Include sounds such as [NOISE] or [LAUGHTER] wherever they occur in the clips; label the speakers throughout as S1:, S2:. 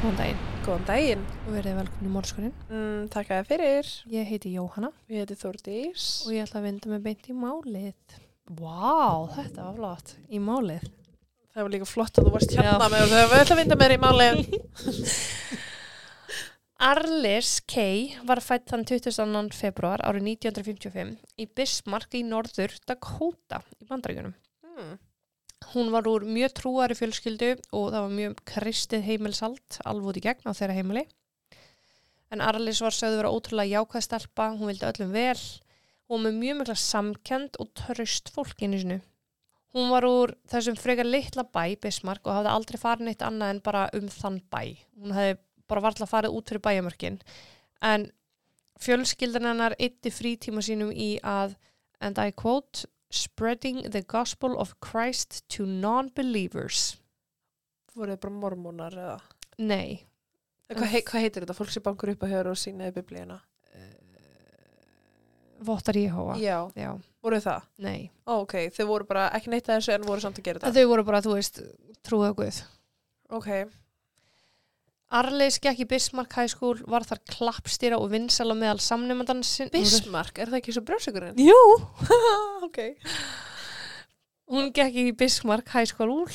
S1: Góðan daginn
S2: Góðan daginn.
S1: og verðið velkomin í Mórskurinn.
S2: Mm, Takk að þið fyrir.
S1: Ég heiti Jóhanna
S2: Við heitum Þórdís.
S1: og ég ætla að vinda mig beint í málið. Vá, wow, þetta var flott. Í málið.
S2: Það var líka flott að þú varst hérna
S1: Já.
S2: með og þau var öll að vinda mér í málið. [LAUGHS]
S1: Arlis K. var fætt þann 22. februar árið 1955 í Bismarck í norður Dakota í Bandaríkunum.
S2: Mm.
S1: Hún var úr mjög trúari fjölskyldu og það var mjög kristið heimilsalt alveg út í gegn á þeirra heimili. En Arlis var sögðu vera ótrúlega jákvæð stelpa, hún vildi öllum vel og með mjög mikla samkend og tröst fólkinu sinu. Hún var úr þessum frekar litla bæ, Bismarck, og hafði aldrei farin eitt annað en bara um þann bæ. Hún hefði bara varla farið út fyrir bæjamörkin. En fjölskyldan hennar ytti frítíma sínum í að, and I quote, Spreading the Gospel of Christ to Non-Believers.
S2: Voruð þið bara mormónar eða?
S1: Nei,
S2: Hvað hei, hvað heitir þetta? Fólk sem bankur upp að höra og sínaði biblíuna.
S1: Vottar Jéhóa.
S2: Já.
S1: Já,
S2: Voruð það?
S1: nei.
S2: Ó, ok. Þau voru bara ekki neitt að þessu en voru samt að gera þetta.
S1: Þau voru bara, þú veist, trúið á Guð.
S2: Ok.
S1: Arleis gekk í Bismarck High School, var þar klappstýra og vinsala meðal samnefndansin.
S2: Bismarck, er það ekki svo brjósugurinn?
S1: Jú!
S2: [LAUGHS] ok.
S1: Hún gekk í Bismarck High School,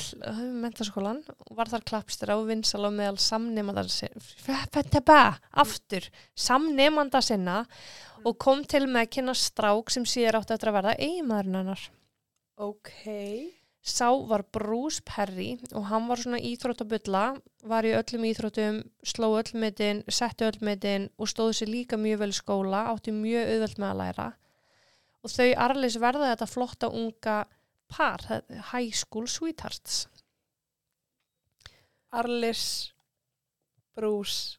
S1: mentaskólan, var þar klappstýra og vinsala meðal samnefndansin. Fettabæ, aftur, samnefnda sinna og kom til með að kynna strák sem síðar átti eftir að verða eiginmaðurinn hennar.
S2: Ok.
S1: Sá var Bruce Perry og hann var svona íþróttabulla, var í öllum íþróttum, sló öllmyndin, setti öllmyndin og stóði sér líka mjög vel í skóla, átti mjög auðvelt með að læra. Og þau Arlis verða þetta flotta unga par, það- high school sweethearts.
S2: Arlis Bruce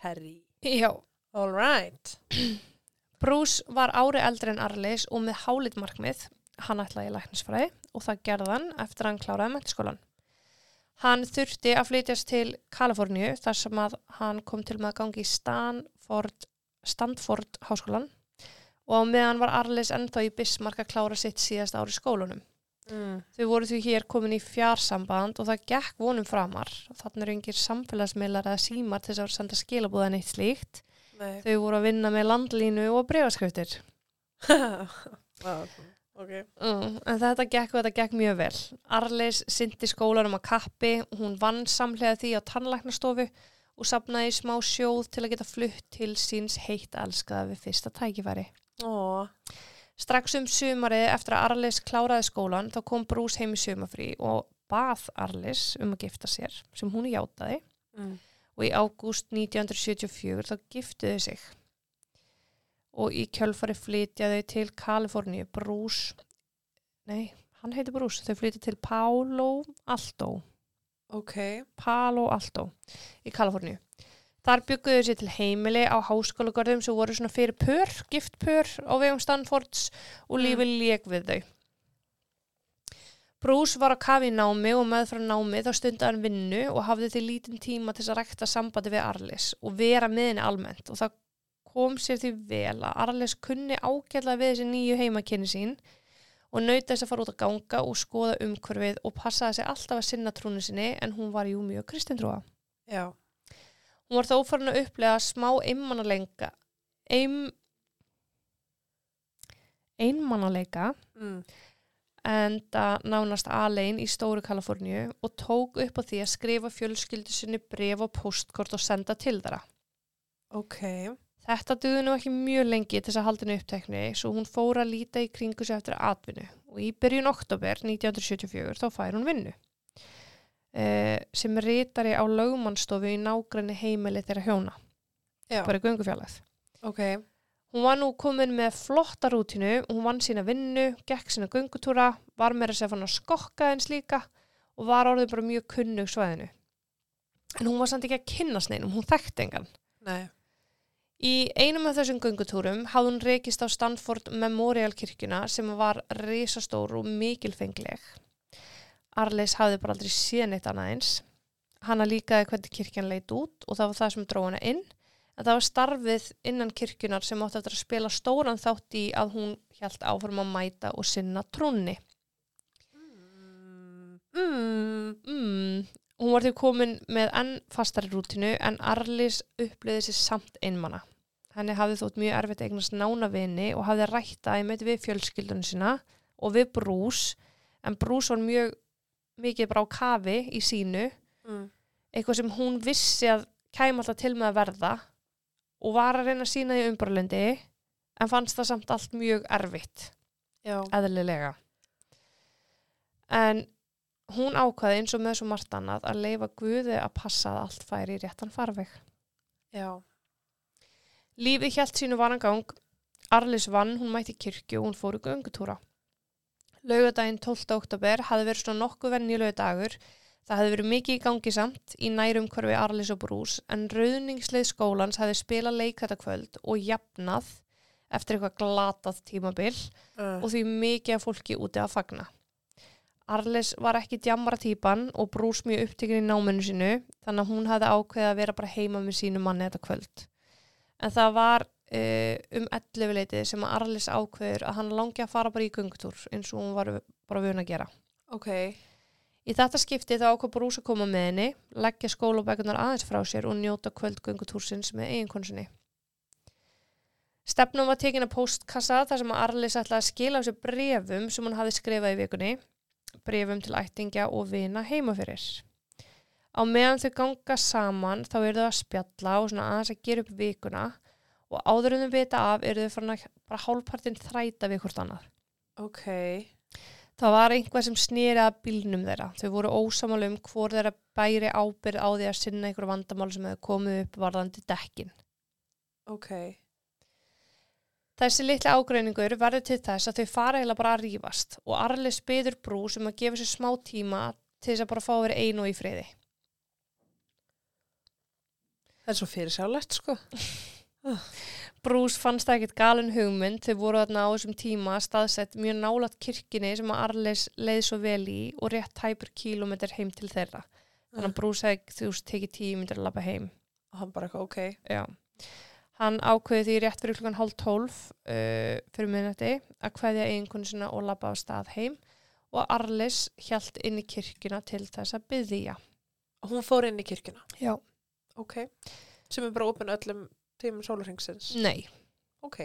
S2: Perry.
S1: Já.
S2: All right.
S1: Bruce var ári eldri en Arlis og með hálít markmið, hann ætlaði í læknisfræði og það gerði hann eftir að hann kláraði mentaskólan. Hann þurfti að flytjast til Kaliforníu þar sem að hann kom til með að gangi í Stanford, Stanford háskólan og á meðan var Arlis ennþá í Bismarck að klára sitt síðast ári í skólanum.
S2: Mm.
S1: Þau voru því hér komin í fjarsamband og það gekk vonum framar. Þannig eru yngir samfélagsmiðlar eða símar til þess að senda skilabúðan eitt slíkt.
S2: Nei.
S1: Þau voru að vinna með landlínu og breyfarskriftir.
S2: [LAUGHS] Vá, ok.
S1: Mm, en þetta gekk og þetta gekk mjög vel. Arleis syndi skólanum að kappi, hún vann samlega því á tannlæknastofu og sapnaði í smá sjóð til að geta flutt til síns heitt elskaða við fyrsta tækifæri.
S2: Ó,
S1: Strax um sumarið eftir að Arleis kláraði skólan þá kom Brús heim í sumafrí og bað Arleis um að gifta sér sem hún játaði
S2: mm.
S1: og í ágúst 1974 þá giftuðu þau sig og í kjölfari flytja þau til Kaliforníu, Bruce nei, hann heitir Bruce þau flytja til Palo Alto
S2: ok.
S1: Palo Alto í Kaliforníu þar bygguðu þau sér til heimili á háskólagörðum sem voru svona fyrir pör, gift pör á vegum Stanfords og
S2: Mm.
S1: lífið lék við þau Bruce var á kafi í námi og með frá námi þá stundi hann vinnu og hafði því lítinn tíma til þess að rekta sambandi við Arlis og vera með henni almennt og það kom sér því vel að Arlis kunni ágætlega við þessi nýju heimakinni sín og nauti þess að fara út að ganga og skoða umhverfið og passaði sig alltaf að sinna trúni sinni en hún var jú mjög kristintrúa.
S2: Já.
S1: Hún var þó farin að upplega smá einmannaleika ein, einmannaleika
S2: Mm.
S1: enda nánast alein í Stóru Kaliforníu og tók upp á því að skrifa fjölskyldu sinni bref og postkort og senda til þeirra.
S2: Ok.
S1: Þetta duði nú ekki mjög lengi til þess að haldinu upptekni svo hún fór að líta í kringu sig eftir atvinnu og í byrjun oktober 1974 þá fær hún vinnu eh, sem rítari á lögmannstofu í nágrinni heimili þeirra hjóna,
S2: Já.
S1: bara í göngufjallað.
S2: Ok.
S1: Hún var nú komin með flotta rútinu, hún vann sína vinnu, gekk sína göngutúra, var meira sér fann að skokka eins líka og var orðið bara mjög kunnug svæðinu. En hún var samt ekki að kynna sneinum, hún þekkti engan.
S2: Nei.
S1: Í einum af þessum göngutúrum hafði hún rekist á Stanford Memorial kirkjuna sem var risastór og mikilfengleg. Arleis hafði bara aldrei síðan eitt annað eins. Hanna líkaði hvernig kirkjan leit út og það var það sem dró hana inn. En það var starfið innan kirkjunar sem átti eftir að spila stóran þátt í að hún hjælt áfram að mæta og sinna trúnni.
S2: Mm. Mm.
S1: Mm, Hún var til komin með enn fastari rútinu en Arlis upplöði sér samt einmana. Henni hafði þótt mjög erfitt að eignast nána vini og hafði rætta einmitt við fjölskyldun sína og við Brús en Brús var mjög mikið bara á kafi í sínu
S2: Mm.
S1: eitthvað sem hún vissi að kæm alltaf til með að verða og var að reyna að sína því umbröðlendi en fannst það samt allt mjög erfitt
S2: Já.
S1: eðlilega en hún ákvaði eins og með svo margt annað að leifa Guði að passa að allt færi í réttan farveg
S2: Já.
S1: Lífið hjælt sínu varangang, Arlis vann, hún mætti í kirkju og hún fór í göngutúra. Laugardaginn 12. oktober hafði verið svona nokkuð venjulegu dagur, það hafði verið mikið í gangi samt í nærum hverfi Arlis og Brús, en rauðningsleið skólans hafði spilað leik þetta kvöld og jafnað eftir eitthvað glatað tímabil
S2: Uh.
S1: og því mikið af fólki úti að fagna. Arlis var ekki djamra típan og brús mjög upptekinn í náminu sínu þannig að hún hafði ákveðið að vera bara heima með sínu manni þetta kvöld. En það var uh, um 11 leitið sem að Arlis ákveður að hann langi að fara bara í göngutúr eins og hún var bara vun að gera.
S2: Ok.
S1: Í þetta skipti þá ákvað Brús að koma með henni, leggja skólabækunar aðeins frá sér og njóta kvöldgöngutúrsins með eiginkonsinni. Stefnum var tekin að postkassa þar sem að Arlis ætlaði að skila af sér brefum sem hún hafði skrifað í vikunni, brefum til ættingja og vina heima fyrir. Á meðan þau ganga saman þá eru þau að spjalla og svona aðeins að gera upp vikuna og áður en þau vita af eru þau farin að bara hálfpartinn þræta við hvort annað.
S2: Ok.
S1: Það var einhvað sem snýri að bílnum þeirra. Þau voru ósamála um hvort þeirra bæri ábyrð á því að sinna einhver vandamál sem hefði komið upp varðandi dekkin.
S2: Ok.
S1: Þessi litli ágreiningur verður til þess að þau fara heila bara að rífast og Arlis byður brú sem um að gefa sér smá tíma til þess að bara fá að vera einu og í friði.
S2: Það er svo fyrir sjálegt, sko.
S1: Brús fannst það ekkert galin hugmynd þau voru þarna á þessum tíma staðsett mjög nálat kirkjunni sem að Arlis leið svo vel í og rétt tæpur kílómetr heim til þeirra. Þannig að Brús hefði þú veist tekið tíu myndir að labba heim.
S2: Og hann bara, ok.
S1: Já. Hann ákveði því rétt fyrir klukkan hálf tólf uh, fyrir minnati að kveðja eiginkonu sinna og labba á stað heim og Arlis hjælt inn í kirkjuna til þess að byðja.
S2: Hún fór inn í kirkjuna.
S1: Já.
S2: Ok. Sem er bara opin öllum tímum sólurhengsins.
S1: Nei.
S2: Ok.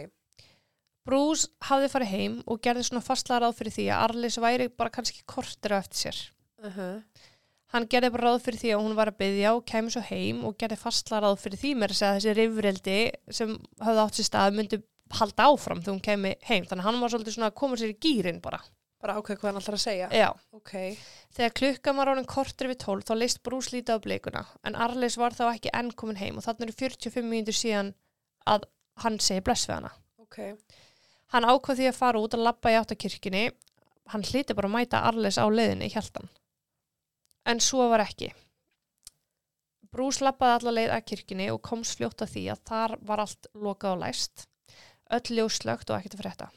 S1: Brús hafði farið heim og gerði svona fastlega ráð fyrir því að Arlis væri bara kannski kortir á eftir sér.
S2: Uh -huh.
S1: Hann gerði bara ráð fyrir því að hún var að byðja og kemur svo heim og gerði fastlega ráð fyrir því mér að segja að þessi rifrildi sem höfði átt sér stað myndi halda áfram þegar hún kemi heim. Þannig að hann var svolítið svona að koma sér í gýrin bara.
S2: Bara ákveð hvað hann alltaf að segja.
S1: Já.
S2: Ok.
S1: Þegar klukkan var ánum kortur við 12 þá leist Brús lítið á bleikuna en Arlis var þá ekki enn komin heim og þannig eru 45 mínútur síðan að hann segi bless við hana.
S2: Ok.
S1: Hann ákvað því að fara út að labba í áttakirkjunni. Hann hlýti bara að mæta Arlis á leiðinni, hjælt hann. En svo var ekki. Brús labbaði alla leið að kirkjunni og komst fljótt að því að þar var allt lokað og læst. Öll ljóslögt og ekkert að frétta.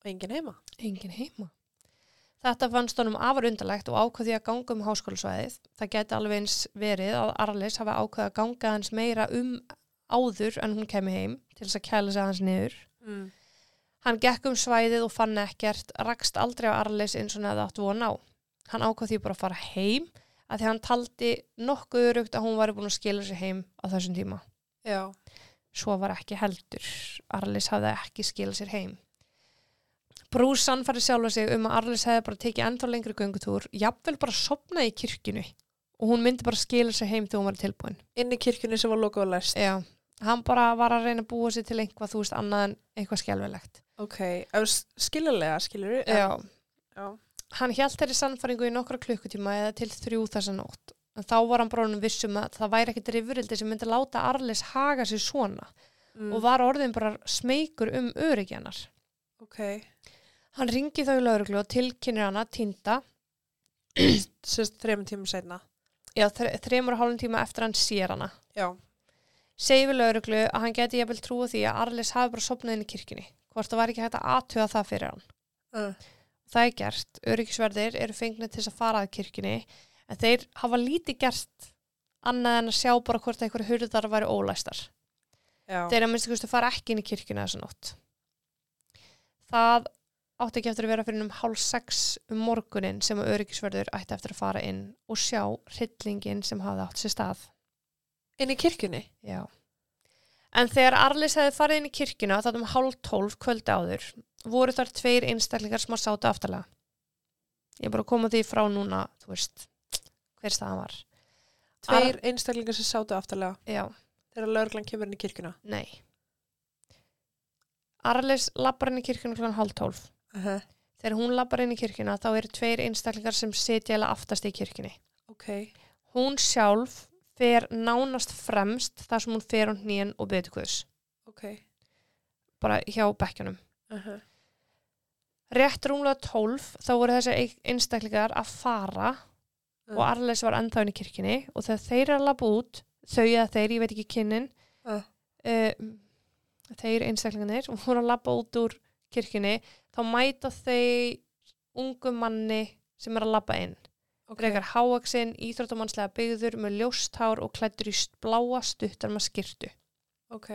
S2: Og enginn heima.
S1: Engin heima. Þetta fannst honum afar undarlegt og ákvaði að ganga um háskólasvæðið. Það geti alveg eins verið að Arlis hafi ákvaði að ganga hans meira um áður en hún kemi heim til þess að kæla sig hans niður.
S2: Mm.
S1: Hann gekk um svæðið og fann ekkert, rakst aldrei á Arlis eins og neða átt von á. Hann ákvaði því bara að fara heim að því hann taldi nokkuð örugt að hún var búin að skila sig heim á þessum tíma.
S2: Já.
S1: Svo var ekki heldur. Arlis hafði ekki skilað sér heim. Brús sannfæri sjálfa sig um að Arlis hefði bara tekið ennþá lengri göngutúr, jafnvel bara sopnaði í kirkjunni og hún myndi bara skila sér heim þegar hún var tilbúin.
S2: Inn í kirkjunni sem var lokað og læst.
S1: Já, hann bara var að reyna að búa sér til einhvað, þú veist, annað en eitthvað skelvilegt.
S2: Ok. Ef s- Skiljanlega, skilur við?
S1: Já,
S2: Já.
S1: hann hjælt þeirri sannfæringu í nokkra klukkutíma eða til þrjú þessa nótt. En þá var hann brónum vissum um að það væri ekkit rifrildi sem myndi láta Arlis haga sér svona
S2: Mm.
S1: og var orðin bara smeykur um öryggjarnar.
S2: Ok.
S1: Hann ringi þá í lauruglu og tilkynir hana týnda
S2: Sérst þrejum tímum seinna.
S1: já, þre, þremur og hálfum tíma eftir hann sér hana.
S2: Já.
S1: Segir við lauruglu að hann geti jafnvel trúa því að Arlis hafi bara sopnað inn í kirkjunni. Hvort það var ekki hægt að aðtuga það fyrir hann.
S2: Uh.
S1: Það er gert. Öryggisverðir eru fengnið til þess að fara að kirkjunni en þeir hafa lítið gert annað en að sjá bara hvort einhverju hurðar væri ólæstar.
S2: Já.
S1: Þeir að minnstu kustu fara ekki inn í kirkjuna þessa nótt. Það átti ekki eftir að vera fyrir um hálf sex um morgunin sem að öryggisverður ætti eftir að fara inn og sjá hryllingin sem hafði átt sér stað.
S2: Inn í kirkjunni?
S1: Já. En þegar Arlis hefði farið inn í kirkjuna þátt um hálf tólf kvöldi áður voru þar tveir einstaklingar sem að sátu aftalega. Ég er bara að koma því frá núna, þú veist, hver staðan var.
S2: Tveir einstaklingar sem sátu aftalega
S1: Já,
S2: þegar lögreglan kemur inn í kirkjuna.
S1: nei. Arlis labbar inn í kirkjuna klokkan hálf tólf.
S2: Uh -huh.
S1: Þegar hún labbar inn í kirkjuna þá eru tveir einstaklingar sem sitja eða aftast í kirkjunni.
S2: Ok.
S1: Hún sjálf fer nánast fremst þar sem hún fer á hnýjan og betur guðs.
S2: Ok.
S1: Bara hjá bekkjunum.
S2: Uh -huh.
S1: rétt rúmlega 12 þá voru þessi einstaklingar að fara
S2: Mm.
S1: og Arles var ennþá inn í kirkjunni og þegar þeir eru að labba út þau eða þeir, ég veit ekki kynnin
S2: Mm.
S1: uh, þeir einstaklingarnir [LAUGHS] voru að labba út úr kirkjunni þá mæta þeir ungum manni sem er að labba inn frekar háaksinn, íþróttamannslega byggður með ljósthár og klættur í st- bláa stuttar með skyrtu
S2: Ok.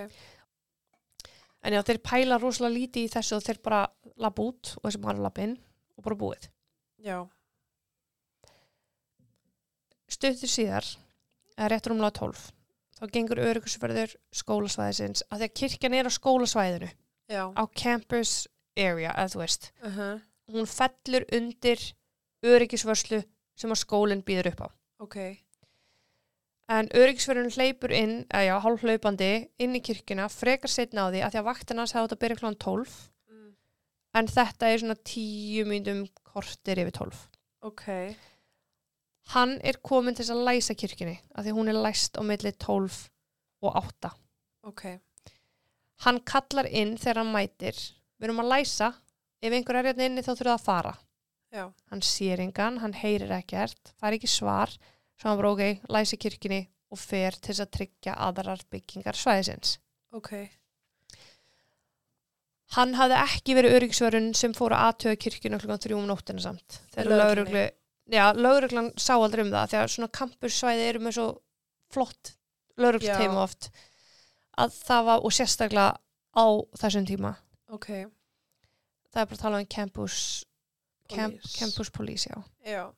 S1: en já, þeir pæla rosalega lítið í þessu og þeir bara labba út og þessi maður labba inn og bara búið
S2: Já.
S1: stuttur síðar, eða rétt rúmlega 12, þá gengur öryggisverður skólasvæðisins, af því að kirkjan er á skólasvæðinu,
S2: Já.
S1: á campus area, eða þú veist.
S2: Uh -huh.
S1: Hún fellur undir öryggisvörslu sem að skólinn býður upp á.
S2: Ok.
S1: En öryggisverðurinn hleypur inn, eða já, hálflaupandi, inn í kirkjuna, frekar setna á því, af því að vaktin hans hefði átt að byrja klán 12,
S2: Mm.
S1: en þetta er svona 10 myndum kortir yfir 12.
S2: Ok.
S1: Hann er komin til þess að læsa kirkjunni, af því að hún er læst á milli 12 og 8.
S2: Ok.
S1: hann kallar inn þegar hann mætir við erum að læsa ef einhver er hérna inni þá þurfa það að fara
S2: Já.
S1: hann sér engan, hann heyrir ekkert fær ekki svar, svo hann bara ok læsi kirkjunni og fer til þess að tryggja aðrar byggingar svæðisins
S2: Ok.
S1: hann hafði ekki verið öryggsvörun sem fór að aðtöða kirkjunni klukkan þrjúum nóttina samt þegar
S2: Lögreglunni.
S1: lögreglu já, lögreglan sá aldrei um það þegar svona kampussvæði eru með svo flott lögreglteima oft að það var og sérstaklega á þessum tíma
S2: Ok.
S1: það er bara að tala um campus camp,
S2: Police.
S1: campus police, já
S2: Já.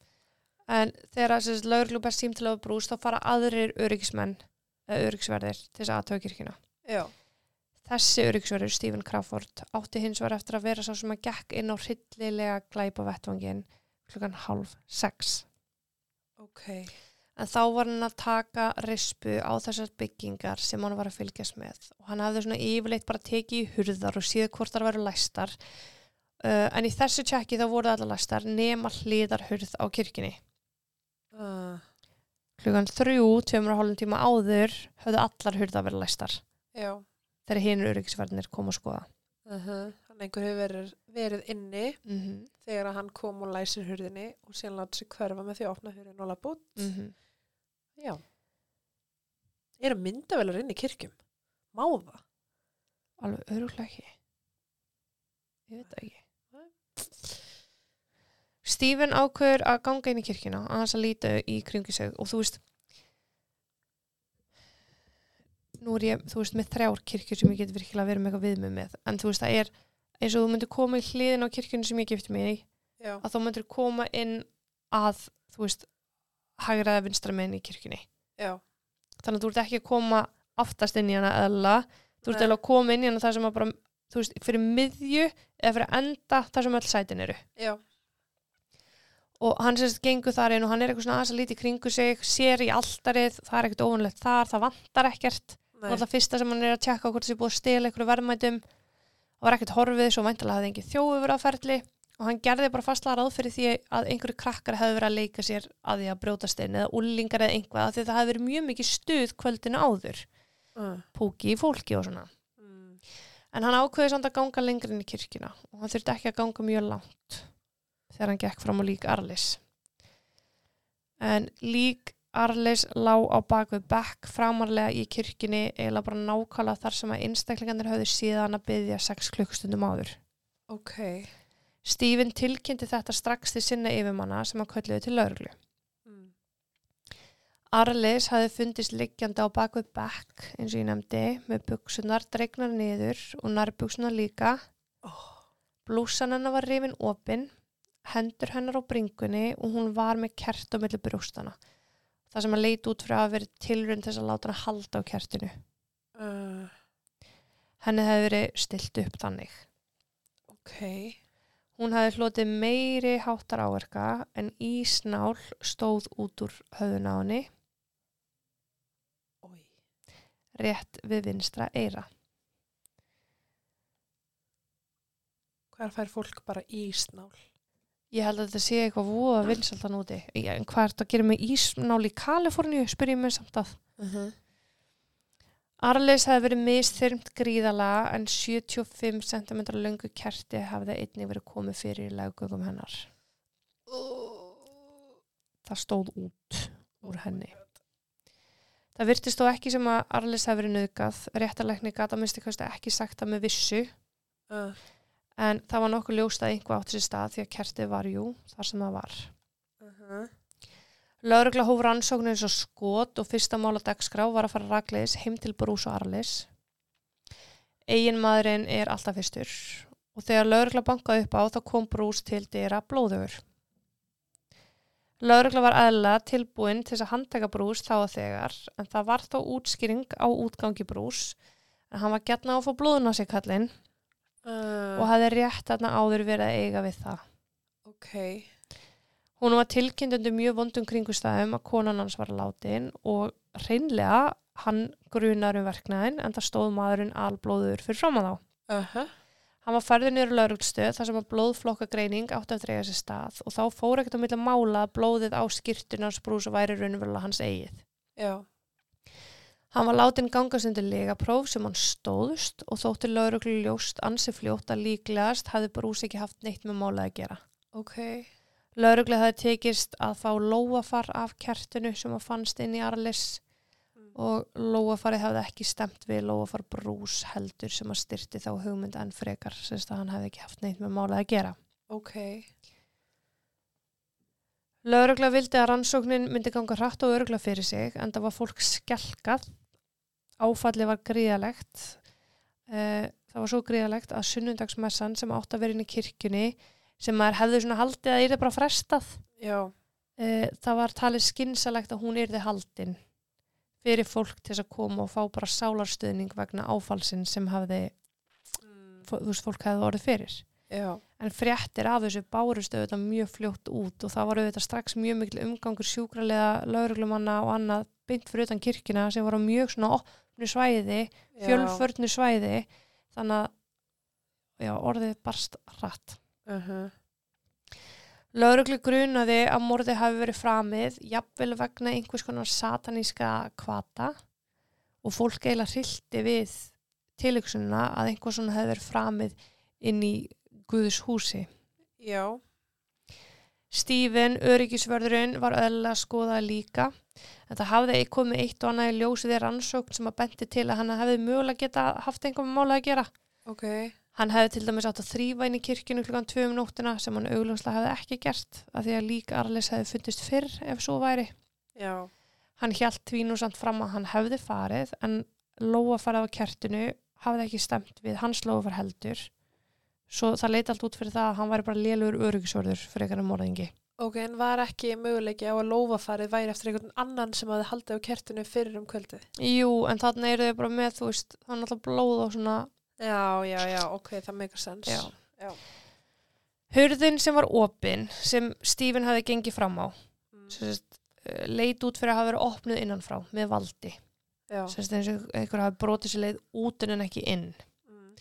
S1: en þegar þessi lögreglu best sím til að brúst þá fara aðrir öryggismenn eða öryggsverðir til þess aðtöða kirkina
S2: Já.
S1: þessi öryggsverður, Stephen Crawford átti hins var eftir að vera sá sem að gekk inn á hryllilega glæpa vettvangin klukkan hálf sex
S2: Ok.
S1: en þá var hann að taka rispu á þessar byggingar sem hann var að fylgjast með og hann hafði svona yfirleitt bara tekið í hurðar og síðu hvort þar væru læstar uh, en í þessu tjekki þá voru allar læstar nema hliðar hurð á kirkjunni
S2: Uh,
S1: klukkan þrjú, tveimur og hálfum tíma áður höfðu allar hurða verið læstar
S2: já.
S1: þegar hinur öryggisverðinir kom að skoða
S2: Uh -huh. Hann einhver hefur verið, verið inni
S1: mm -hmm.
S2: þegar að hann kom og læsir hurðinni og síðan láta sig hverfa með því að opna hurðin og lappa út. Já. Eru myndavelar inn í kirkjum? Má það?
S1: alveg öruglega ekki ég veit það ekki
S2: Nei.
S1: Stephen ákveður að ganga inn í kirkina að hans að líta í kringi sig og þú veist nú er ég, þú veist, með þrjár kirkjur sem ég get virkilega verið með eitthvað viðmið með en þú veist, það er eins og þú myndir koma í hliðin á kirkjunni sem ég gifti mig í
S2: Já.
S1: að þá myndir koma inn að, þú veist, hægraða vinstra meginn í kirkjunni
S2: Já.
S1: þannig að þú ert ekki að koma aftast inn í hana eðla þú ert
S2: Nei.
S1: eða að koma inn í hana þar sem að bara þú veist, fyrir miðju eða fyrir enda þar sem öll sætin eru
S2: Já.
S1: og hann sérst gengur þar inn og hann er eitthvað svona aðeins að líti kringu sig sér í alltarið, það er ekkert óvanlegt þar það vantar ekkert,
S2: Nei.
S1: það er það fyrsta sem hann er að tjekka á hvort þessi búið að stela einhverju verðmætum það var ekkert horfið, svo væntalega hafði engin þjófu verið á ferli og hann gerði bara fastlega ráð fyrir því að einhverju krakkar hefði verið að leika sér að því að brjótast inn eða ullingar eða einhvað af því að það hefði verið mjög mikið stuð kvöldinu áður
S2: Uh,
S1: púki í fólki og svona.
S2: mm.
S1: En hann ákveði samt að ganga lengur inn í kirkina og hann þurfti ekki að ganga mjög langt þegar hann gekk fram á lík Arlis. En lík Arlis lá á bakvið bekk framarlega í kirkini eiginlega bara nákvæmlega þar sem að einstaklingarnir höfðu síðan að byggja 6 klukkstundum áður.
S2: Ok.
S1: Stífin tilkynnti þetta strax til sinna yfirmanna sem hann kölluði til lauruglu.
S2: Mm.
S1: Arlis hafði fundist liggjandi á bakvið bekk, eins og ég nefndi, með buksunar dregnar niður og nærbuksunar líka,
S2: Oh.
S1: Blússan hennar var rifin opin, hendur hennar á bringunni og hún var með kert á milli brjóstana. Það sem að leita út fyrir að hafa verið tilrun þess að láta hana halda á kertinu.
S2: Uh,
S1: Henni hefði verið stilt upp þannig.
S2: ok.
S1: Hún hefði hlotið meiri háttar áverka en ísnál stóð út úr höfðun á henni
S2: Ói.
S1: rétt við vinstra eira.
S2: Hver fær fólk bara ísnál?
S1: Ég held að þetta sé eitthvað voða vinsaldan úti. Já, en hvað er þetta að gera með ísnál í Kaliforníu, spyr ég mér samt að.
S2: Uh
S1: Arleis hefði verið misþyrmt gríðalega en 75 cm löngu kerti hafði einnig verið komið fyrir í laggöngum hennar. Það stóð út úr henni. Það virtist þó ekki sem að Arleis hefði verið nöðgað. Réttarlækni gata minnst ekki, ekki sagt það með vissu
S2: Uh,
S1: en það var nokkuð ljóst að einhvað átt sér stað því að kertið var jú þar sem það var.
S2: uh -huh.
S1: Laurugla hóf rannsóknu eins og skot og fyrsta mál á dagskrá var að fara ragleis heim til brús og arleis. Egin maðurinn er alltaf fyrstur og þegar laurugla bankaði upp á þá kom brús til dyra blóðugur. Laurugla var aðla tilbúin til þess að handtaka brús þá að þegar en það var þá útskýring á útgangi brús en hann var gætna á að fá blóðun á sig kallinn
S2: Uh,
S1: og hafði rétt aðna áður verið að eiga við það.
S2: ok.
S1: Hún var tilkynnt undir mjög vondum kringustæðum að konan hans var látin og reynlega hann grunar um verknæðin en það stóð maðurinn alblóður fyrir fram að þá.
S2: Uh -huh.
S1: Hann var færður niður á lauruglstöð þar sem að blóðflokkagreining átti að dreyja sér stað og þá fór ekkert á milli mála að blóðið á skýrtunars brús og væri raunverulega hans eigið.
S2: Já.
S1: Hann var látin gangast undir legapróf sem hann stóðust og þótti lauruglu ljóst ansi fljótt að líklegast hafði brús ekki haft neitt með mála að gera.
S2: Ok.
S1: Lauruglega hafði tekist að fá lóafar af kertinu sem að fannst inn í Arlis
S2: Mm.
S1: og lóafarið hafði ekki stemt við lóafar brús heldur sem að styrti þá hugmynd enn frekar sem að hann hafði ekki haft neitt með málað að gera.
S2: Ok.
S1: Lauruglega vildi að rannsóknin myndi ganga hratt og öruglega fyrir sig en það var fólk skelkað, áfallið var gríðalegt, Eh, það var svo gríðalegt að sunnundagsmessan sem átt að vera inn í kirkjunni sem maður hefði svona haldið að yrði bara frestað
S2: Já.
S1: e, það var talið skynsalegt að hún yrði haldin fyrir fólk til þess að koma og fá bara sálarstuðning vegna áfallsinn sem hafði,
S2: Mm.
S1: fó- þú veist, fólk hefði orðið fyrir.
S2: Já.
S1: En fréttir af þessu bárust auðvitað mjög fljótt út og það var auðvitað strax mjög mikil umgangur sjúkralega, lauruglumanna og annað beint fyrir utan kirkina sem var á mjög svona opnu svæði,
S2: Já.
S1: fjölförnu svæði, þannig að já, orðið barst hratt.
S2: Uh -huh.
S1: Lauruglu grunaði að morði hafi verið framið, jafnvel vegna einhvers konar sataníska kvata og fólk eiginlega hrilti við tilöksununa að einhvers svona hefði verið framið inn í Guðus húsi.
S2: Já.
S1: Stífin, öryggisvörðurinn, var öðlega að skoða líka. Þetta hafði ekki komið eitt og annað í ljósið í rannsókn sem að benti til að hann hefði mögulega geta haft einhver mála að gera.
S2: Ok.
S1: Hann hefði til dæmis átt að þrýfa inn í kirkjunu klukkan 2 um nóttina sem hann augljóslega hefði ekki gert að því að lík Arles hefði fundist fyrr ef svo væri.
S2: Já.
S1: Hann hjælt því nú samt fram að hann hefði farið en lóafarið á kertinu hafði ekki stemt við hans lóafar heldur svo það leit allt út fyrir það að hann væri bara lélugur öryggisvörður fyrir einhverjum morðingi.
S2: Ok, en var ekki möguleiki á að lófafarið væri eftir einhvern annan sem hafði haldið á kertinu fyrir um kvöldið?
S1: Jú, en þarna eru þau bara með, þú veist, það er náttúrulega blóð og svona
S2: Já, já, já, ok, það meikar sens.
S1: Já.
S2: Já.
S1: Hurðin sem var opin, sem Stífin hafði gengið fram á,
S2: Mm.
S1: sem sagt, eh, leit út fyrir að hafa verið opnuð innanfrá með valdi.
S2: Já.
S1: Sérst eins og einhver hafi brotið sér leið út en en ekki inn.
S2: Mm.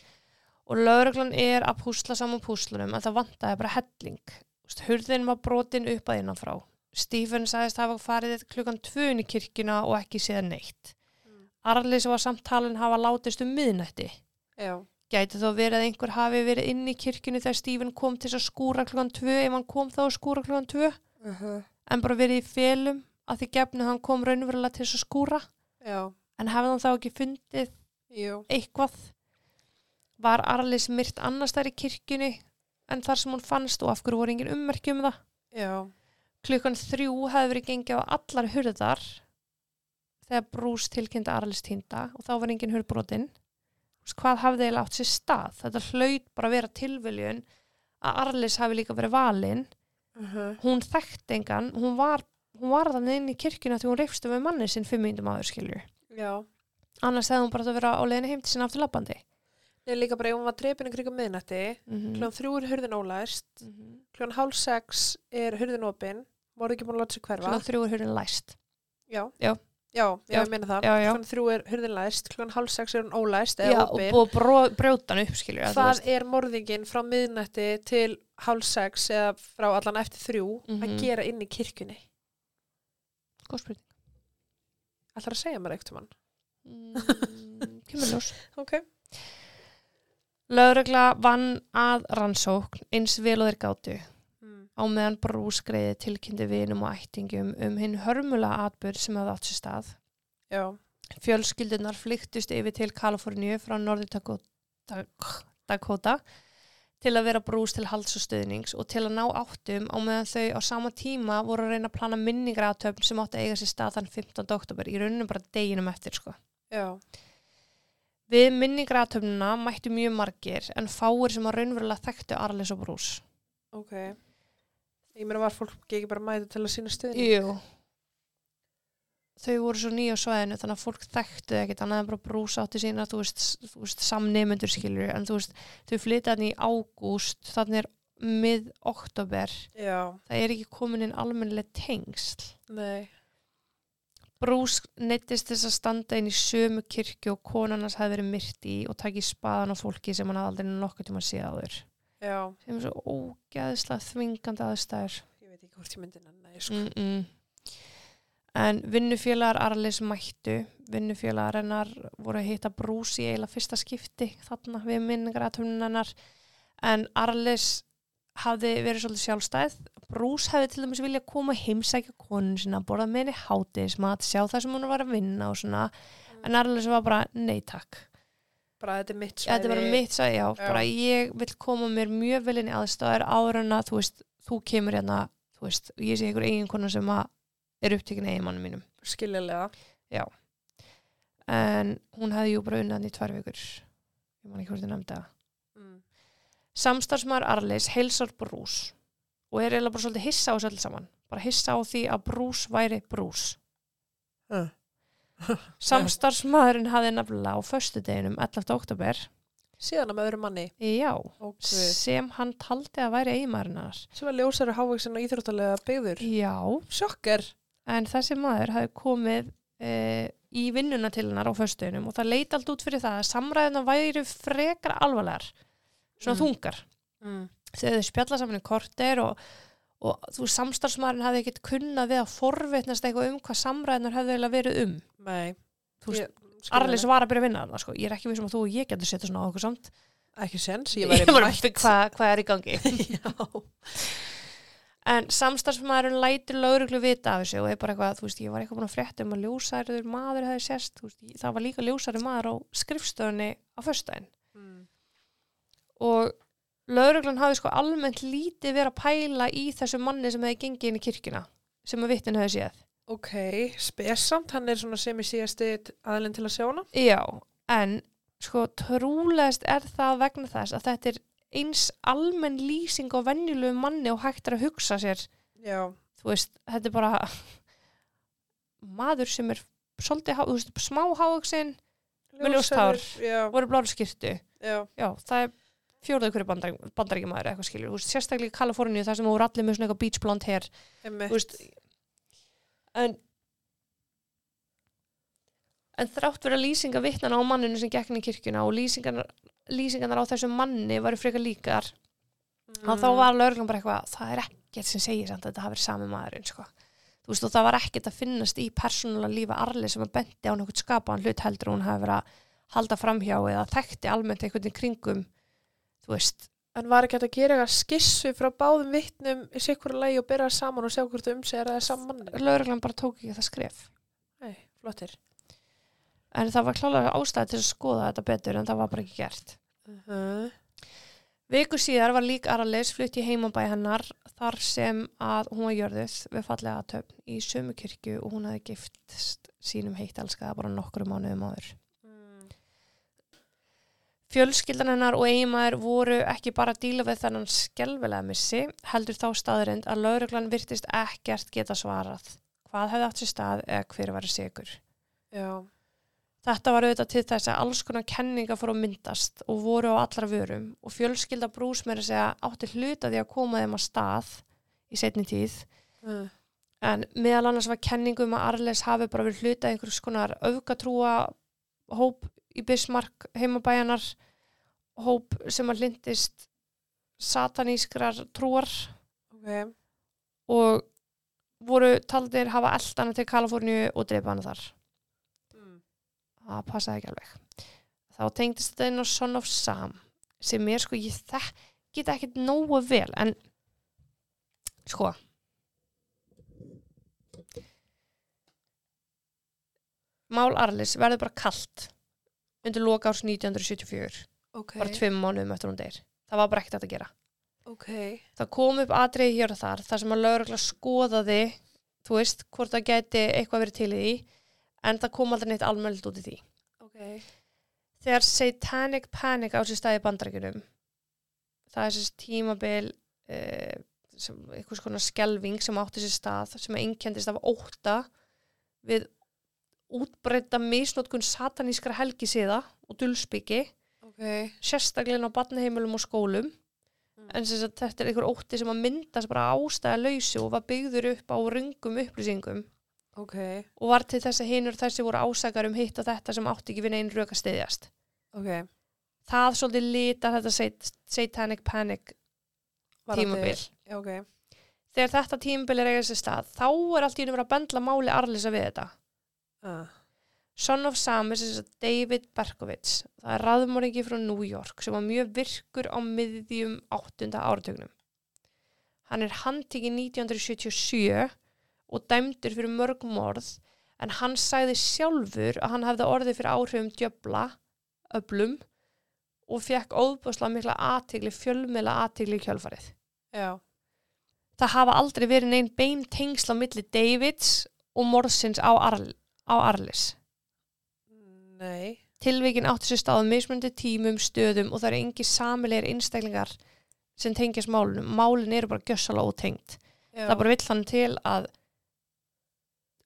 S1: Og lögreglan er að púsla saman púslunum en það vantaði bara helling. Þú veist, Hurðin var brotin upp að innan frá. Stephen sagðist hafa farið klukkan tvöin í kirkjuna og ekki séð neitt.
S2: Mm.
S1: Arlis var samtalin hafa látist um miðnætti.
S2: Já.
S1: Gæti þó verið að einhver hafi verið inn í kirkjunu þegar Stephen kom til þess að skúra klukkan tvö ef hann kom þá að skúra klukkan tvö
S2: Uh -huh.
S1: en bara verið í félum að því gefnu hann kom raunverulega til þess að skúra
S2: Já.
S1: en hefði hann þá ekki fundið
S2: Jú.
S1: eitthvað var Arlis myrt annars þær í kirkjunni en þar sem hún fannst og af hverju voru engin ummerki um það
S2: Já.
S1: klukkan þrjú hefði verið gengið á allar hurðar þegar brús tilkynnti Arlis týnda og þá var engin hurðbrotin hvað hafði eiginlega átt sér stað þetta hlaut bara að vera tilviljun að Arlis hafi líka verið valinn
S2: Mhm.
S1: hún þekkt engan, hún var hún var þannig inn í kirkjuna því hún reyfstu með manni sinn fimm myndum aður skilju
S2: Já.
S1: annars hefði hún bara átt að vera á leiðinu heim til sinna aftur labbandi
S2: Nei, líka bara, ef hún var drepin í krigum miðnætti,
S1: mm
S2: kljóðan þrjú er hurðin ólæst,
S1: -hmm.
S2: kljóðan hálf sex er hurðin opin, voru ekki búin að láta sig hverfa.
S1: klokkan þrjú er hurðin læst
S2: Já.
S1: Já.
S2: Já, já,
S1: Já.
S2: ég meina það.
S1: já, já,
S2: Kljóðan þrjú er hurðin læst, kljóðan hálf sex er hún ólæst
S1: já
S2: eða
S1: og
S2: opin.
S1: búið að bró- brjóta hann upp skilju
S2: Það er morðingin frá miðnætti til hálf sex eða frá allan eftir þrjú
S1: Mhm.
S2: að gera inn í kirkjunni.
S1: [LAUGHS] góðspyrning
S2: Ætlar að segja mér eitt um hann?
S1: mm, kemur ljós
S2: Ok.
S1: Lögregla vann að rannsókn eins vel og þeir gátu
S2: Mm.
S1: á meðan brúskreiði tilkynnti vinum og ættingum um hinn hörmula atbyrð sem hafði átt sér stað.
S2: Já.
S1: Fjölskyldunar flyktust yfir til Kaliforníu frá Norður Dakota, Dakota til að vera brús til halds og stuðnings og til að ná áttum á meðan þau á sama tíma voru að reyna að plana minningratöfn sem átti að eiga sér stað þann 15. oktober í rauninu bara deginum eftir sko.
S2: Já.
S1: Við minningratöfnuna mættu mjög margir en fáir sem að raunverulega þekktu Arlis og brús.
S2: Ok. Ég meina var fólk ekki bara að mæta til að sína stuðning?
S1: Jú Þau voru svo nýja á svæðinu þannig að fólk þekktu ekkit annað en bara brúsa átti sína þú veist, s- þú veist samnemendur skilur en þú veist, þau flytta hann í ágúst þannig er mið oktober
S2: Já.
S1: það er ekki komin inn almennileg tengsl
S2: Nei.
S1: Brús neittist þess að standa inn í sömu kirkju og konarnas hefði verið myrt í og taki spaðan á fólki sem hann hafði aldrei nokkuð tíma að séð áður
S2: Já.
S1: sem er svo ógeðslega þvingandi aðstæður
S2: Ég veit ekki hvort ég myndi nanna. Sko.
S1: mm -mm. en vinnufélagar Arlis mættu vinnufélagar hennar voru að hitta brús í eiginlega fyrsta skipti þarna við minningar hennar en Arlis hafði verið svolítið sjálfstæð brús hefði til dæmis vilja koma að heimsækja konun sinna, borða með henni hátiðismat sjá það sem hún var að vinna og svona en Arlis var bara nei takk
S2: Bara þetta er mitt svæði.
S1: þetta var mitt sæði, já,
S2: Já.
S1: bara ég vil koma mér mjög vel inn í aðstæður áður en að þú veist, þú kemur hérna þú veist, og ég sé einhver eigin konar sem að er upptekin eiginmannum mínum
S2: Skiljulega.
S1: en hún hefði jú bara unnað hann í tvær vikur ég man ekki hvort ég nefndi það
S2: Mm.
S1: samstarfsmaður Arleis heilsar brús og er eiginlega bara svolítið hissa á þessu öll saman bara hissa á því að brús væri brús [LAUGHS]
S2: Uh.
S1: samstarfsmaðurinn hafði nefnilega á föstudeginum 11. oktober
S2: Síðan að með öðru manni.
S1: já,
S2: Og guð.
S1: sem hann taldi að væri eiginmaðurinn hennar
S2: Sem var ljósari hávaksin og íþróttalega byggður.
S1: já,
S2: Sjokker.
S1: en þessi maður hafi komið e, í vinnuna til hennar á föstunum og það leit allt út fyrir það að samræðina væri frekar alvarlegar svona
S2: Mm.
S1: þungar
S2: Mm.
S1: þegar þau spjalla saman í korter og, og þú veist, samstarfsmaðurinn hafi ekkit kunnað við að forvitnast eitthvað um hvað samræðinar hefði eiginlega verið um
S2: Nei.
S1: Þú veist,
S2: Ég-
S1: Arlis var að byrja að vinna þarna sko. ég er ekki vissum að þú og ég getur setja svona á okkur samt
S2: Ekki sens. Ég væri
S1: bara,
S2: mætt.
S1: hvað, hvað er í gangi
S2: [LAUGHS] Já.
S1: En samstarfsmaðurinn lætur lauruglu vita af þessu og er bara eitthvað, þú veist, ég var eitthvað búin að frétta um að ljósæriður maður hefði sérst, þú veist, ég- það var líka ljósæri maður á skrifstöðunni á föstudaginn.
S2: Mm.
S1: Og lauruglan hafi sko almennt lítið verið að pæla í þessu manni sem hefði gengið inn í kirkjuna, sem að vittin hefði séð.
S2: Ok, spesamt, hann er svona sem í síðasti aðlinn til að sjá hana.
S1: Já, en sko trúlegast er það vegna þess að þetta er eins almenn lýsing á venjulegu manni og hægt er að hugsa sér
S2: Já,
S1: þú veist, þetta er bara [LAUGHS] maður sem er svolítið, há- þú veist, smá hávaxin Með ljóst hár.
S2: Já,
S1: og er bláru skýrtu,
S2: já,
S1: já, það er fjórða hverju bandar, bandaríkjamaður eða eitthvað skilur þú veist, sérstaklega í Kaliforníu þar sem þú voru allir með svona eitthvað beach blonde hair,
S2: emmi.
S1: þú veist en en þrátt vera lýsinga vittnana á manninu sem gekk inn í kirkjuna og lýsingarnar, lýsingarnar á þessum manni varu frekar líkar
S2: Mm.
S1: að þá var lögreglum bara eitthvað það er ekkert sem segir samt að þetta hafi verið sami maðurinn sko. þú veist og það var ekkert að finnast í persónulega lífa Arli sem að bendi á nokkuð skapaðan hlut heldur en hún hafi verið að halda framhjá eða þekkti almennt einhvern í kringum þú veist,
S2: En var ekki hægt að gera eitthvað skissu frá báðum vittnum í sikkur lagi og byrja það saman og sjá hvort þau um sig er það saman manni?
S1: lögreglum bara tók ekki það skref
S2: Nei, flottir.
S1: en það var klálega ástæði til að skoða þetta betur en það var bara ekki gert
S2: Uh -huh.
S1: Viku síðar var lík Araleis flutt í heimabæ hennar þar sem að hún var jörðuð við fallega aðtöfn í sömu kirkju og hún hefði giftst sínum heitt elskaða bara nokkru mánuðum áður.
S2: mm.
S1: Fjölskyldan hennar og eiginmaður voru ekki bara að díla við þennan skelfilega missi, heldur þá staðurind að lauruglan virtist ekkert geta svarað. Hvað hefði átt sér stað eða hver var sigur?
S2: já,
S1: Þetta var auðvitað til þess að alls konar kenninga fór að myndast og voru á allra vörum og fjölskylda brús meira að segja átti hluta því að koma þeim að stað í setni tíð
S2: uh,
S1: en meðal annars var kenningum að Arles hafi bara verið hluta einhvers konar öfgatrúa hóp í Bismarck heimabæjanar hóp sem að lindist satanískrar trúar
S2: ok,
S1: og voru taldir hafa eldana til Kaliforníu og dreipa hana þar
S2: mm.
S1: það passaði ekki alveg þá tengdist þetta inn á Son of Sam sem er sko, ég þekk get ekkit nógu vel en sko Mál Arlis verður bara kalt undir loka árs 1974
S2: ok,
S1: bara tveim mánuðum eftir hún deyr það var bara ekkert hægt að gera
S2: ok,
S1: það kom upp atriði hér og þar þar sem að lögregla skoðaði þú veist, hvort það gæti eitthvað verið til í því en það kom aldrei neitt almennilegt út í því
S2: ok,
S1: þegar satanic panic á sér staði bandarækjunum það er þessi tímabil eh, sem, einhvers konar skelving sem átti sér stað sem einkendist af óta við útbreyta misnotkun satanískra helgisiða og dulspiki
S2: ok,
S1: sérstaklega inn á barnaheimilum og skólum
S2: Mm.
S1: en sem sagt, þetta er einhver ótti sem að myndast bara ástæða lausu og var byggður upp á röngum upplýsingum
S2: ok,
S1: og var til þess að hinur þessi voru ásakar um hitt og þetta sem átti ekki við einn rök að stiðjast
S2: ok,
S1: það svolítið lítar þetta sat- satanic panic
S2: Varðandi-
S1: tímabil.
S2: já, ok,
S1: Þegar þetta tímabil er eiga sér stað, þá er allt í einu verið að bendla máli Arlisa við þetta.
S2: uh,
S1: Son of Sam er sem sagt David Berkovits. Það er raðmóringi frá New York sem var mjög virkur á miðjum áttunda áratugnum. Hann er handtikið 1977 og dæmdur fyrir mörg morð en hann sagði sjálfur að hann hefði orðið fyrir áhrifum djöbla, öblum og fekk óbúslega mikla aðtigli, fjölmela aðtigli í kjölfarið.
S2: já,
S1: Það hafa aldrei verið neinn bein tengsl á milli Davids og morðsins á, Arl, á Arlis.
S2: nei,
S1: Tilvikin átti sér stáð mismundi tímum, stöðum og það eru engi samilegir einstaklingar sem tengjast málunum. Málin eru bara gjössala ótengt.
S2: já,
S1: Það bara vill hann til að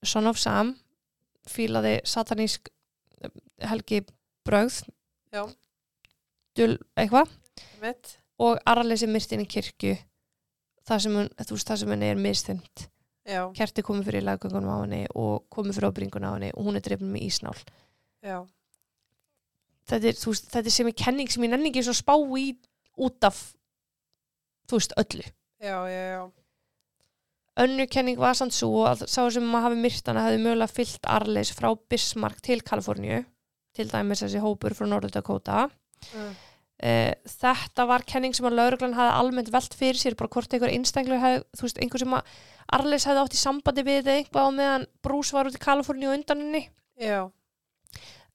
S1: Son of Sam fílaði satanísk eh, helgi brögð
S2: Já.
S1: dul eitthvað
S2: mitt,
S1: og Arlesi myrtin í kirkju það sem hún, þú veist, það sem henni er myrstind
S2: já,
S1: kerti komið fyrir í laggöngunum á henni og komið fyrir ábringun á henni og hún er drefnum með ísnál
S2: já,
S1: þetta er, þú veist, þetta er sem er kenning sem ég nenni ekki svo spá í út af þú veist, öllu.
S2: já, já, já,
S1: Önnu kenning var samt svo að sá sem maður hafi myrtana hefði mögulega fyllt Arleis frá Bismarck til Kaliforníu, til dæmis þessi hópur frá Norður Dakota.
S2: uh,
S1: Eh, þetta var kenning sem að lauruglan hafði almennt velt fyrir sér, bara hvort einhver einstaklega hefði, þú veist, einhver sem að Arleis hefði átt í sambandi við þetta eitthvað á meðan Bruce var út í Kaliforníu og undan henni.
S2: já,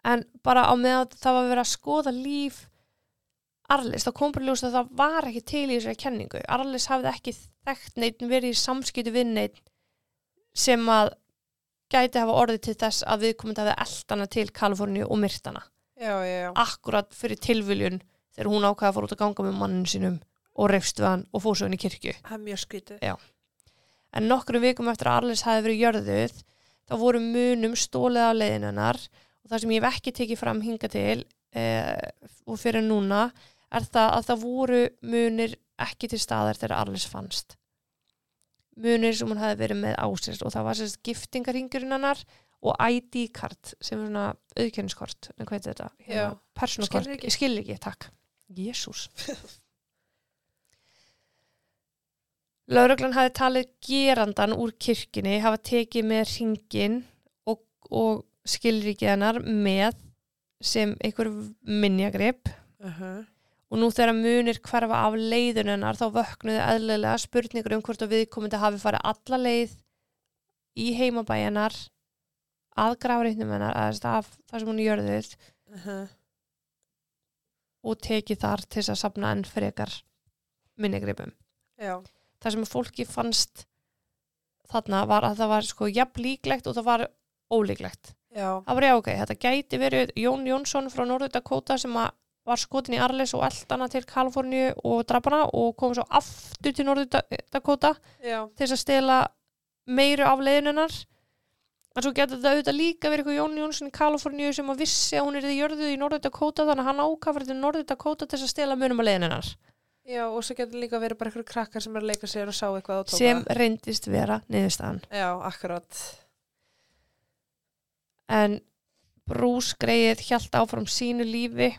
S1: en bara á meðan það var verið að skoða líf Arlis, þá kom bara í ljós að það var ekki til í þessari kenningu. Arlis hafði ekki þekkt neitt verið í samskiptu við neitt sem að gæti hafa orðið til þess að viðkomandi hafi eldana til Kaliforníu og myrtana.
S2: já, já, já,
S1: Akkurat fyrir tilviljun þegar hún ákvaða að fór út að ganga með manninu sínum og reyfst við hann og fór svo inn í kirkju
S2: það er mjög skrítið,
S1: en nokkrum vikum eftir að Arlis hafi verið jörðuð þá voru munum stólið á leiðinu hennar og það sem ég hef ekki tekið fram hinga til eh, og fyrir núna er það að það voru munir ekki til staðar þegar Arlis fannst munir sem hún hafi verið með ásins og það var sérst giftingarhingurinn hennar og ID-kart sem er svona auðkenniskort, en hvað er þetta? Hérna,
S2: Já.
S1: Persónukort,
S2: Skilur ekki.
S1: ég skil ekki, takk [LAUGHS] Jésús Lauruglan hafi talið gerandan úr kirkjunni, hafa tekið með ringin og, og skilríkið hennar með sem einhver minjagrip
S2: uh -huh.
S1: og nú þegar munir hverfa af leiðun hennar þá vöknuðu eðlilega spurningur um hvort að viðkomandi hafi farið alla leið í heimabæjanar að grafreitnum hennar að staf, það sem hún er jörðuð
S2: Uh -huh.
S1: og tekið þar til þess að safna enn frekar minjagripum.
S2: já,
S1: það sem fólki fannst þarna var að það var sko jafn líklegt og það var ólíklegt.
S2: já,
S1: Það var já ok, þetta gæti verið Jón Jónsson frá Norður Dakota sem að var skotin í Arles og eldana til Kaliforníu og drapana og kom svo aftur til Norður Dakota
S2: já,
S1: til þess að stela meiru af leiðinunar en svo getur þetta auðvitað líka verið eitthvað Jón Jónsson í Kaliforníu sem að vissi að hún er í jörðuð í Norður Dakota þannig að hann ákafur til Norður Dakota til þess að stela munum af leiðinunar
S2: já, og svo getur líka verið bara einhverju krakkar sem er að leika sér og sá eitthvað og tóka.
S1: sem reyndist vera niðurstaðan
S2: Já, akkurat.
S1: en Bruce greið hjælt áfram sínu lífi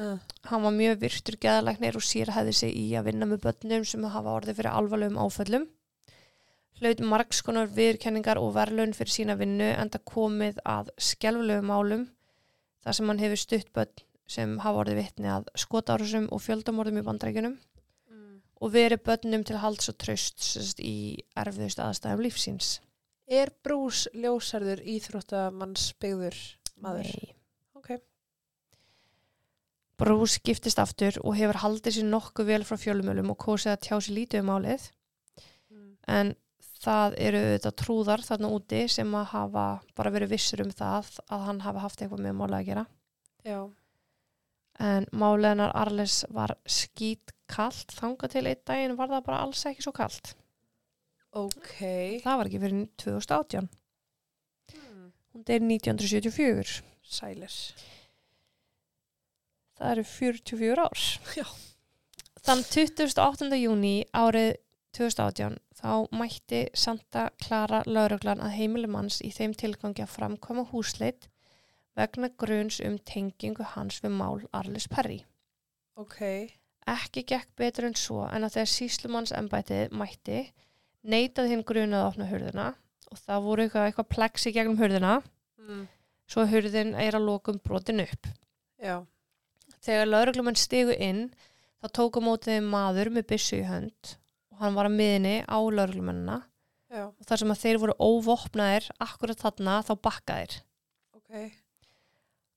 S2: Uh,
S1: hann var mjög virtur geðalæknir og sér hefði sig í að vinna með börnum sem hafa orðið fyrir alvarlegum áföllum. Hlaut margskonar viðurkenningar og verðlun fyrir sína vinnu enda komið að skelfulegum málum þar sem hann hefur stutt börn sem hafa orðið vitni að skotárusum og fjöldamorðum í bandrækjunum
S2: mm.
S1: og verið börnum til halds og tröst sérst, í erfiðust aðstæðum lífsins.
S2: Er brús ljósarður íþróttamannsbyggður maður?
S1: Nei.
S2: Ok.
S1: Bruce giftist aftur og hefur haldið sér nokkuð vel frá fjölumölum og kosið að tjá sér lítið um málið
S2: Mm.
S1: en það eru auðvitað trúðar þarna úti sem að hafa bara verið vissur um það að hann hafi haft eitthvað með málega að gera
S2: Já,
S1: en máleginar Arles var skít kalt þangað til einn daginn var það bara alls ekki svo kalt
S2: ok.
S1: það var ekki fyrir 2018
S2: Mm.
S1: hún deyr 1974
S2: Sælir.
S1: það eru 44 ár
S2: Já.
S1: þann 28. júni árið 2018 þá mætti Santa Clara lauruglan að heimilumanns í þeim tilgangi að framkoma húsleitt vegna gruns um tengingu hans við mál Arlis Perry.
S2: Ok.
S1: Ekki gekk betur en svo en að þegar síslumanns embætið mætti neitað hinn grunað að opna hurðina og það voru eitthvað, eitthvað plexi gegnum hurðina
S2: Mm.
S1: svo að hurðin er að lokum brotin upp.
S2: Já,
S1: Þegar lauruglumenn stigu inn þá tók á mótið þeim maður með byssu í hönd og hann var að miðinni á lauruglumennina
S2: já,
S1: og þar sem að þeir voru óvopnaðir akkurat þarna þá bakkaðir.
S2: ok.